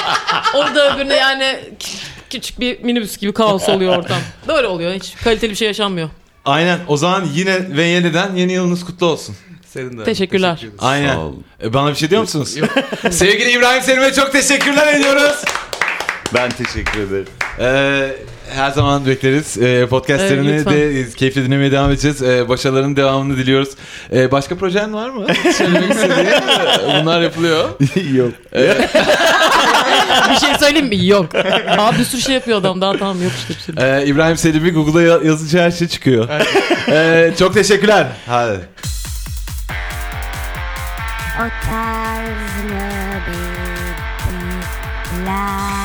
Orada öbürüne yani kü- küçük bir minibüs gibi kaos oluyor ortam. Böyle oluyor. Hiç kaliteli bir şey yaşanmıyor.
Aynen. O zaman yine ve yeniden yeni yılınız kutlu olsun.
Senin de.
Teşekkürler.
Aynen.
Sağ olun.
E, Bana bir şey diyor musunuz?
Sevgili İbrahim Selim'e çok teşekkürler ediyoruz.
Ben teşekkür ederim.
Ee, her zaman bekleriz. Ee, podcastlerini
Evet, lütfen.
de keyifle dinlemeye devam edeceğiz. Ee, başarılarının devamını diliyoruz. Ee, başka projen var mı? Söylemek istediğin Ee, bunlar yapılıyor.
Yok.
Bir şey söyleyeyim mi? Yok. Abi bir sürü şey yapıyor adam. Daha tamam yok işte bir sürü.
Ee, İbrahim Selim'i Google'a ya- yazınca her şey çıkıyor. Ee, çok teşekkürler. Hadi.
Otázne byty, lá.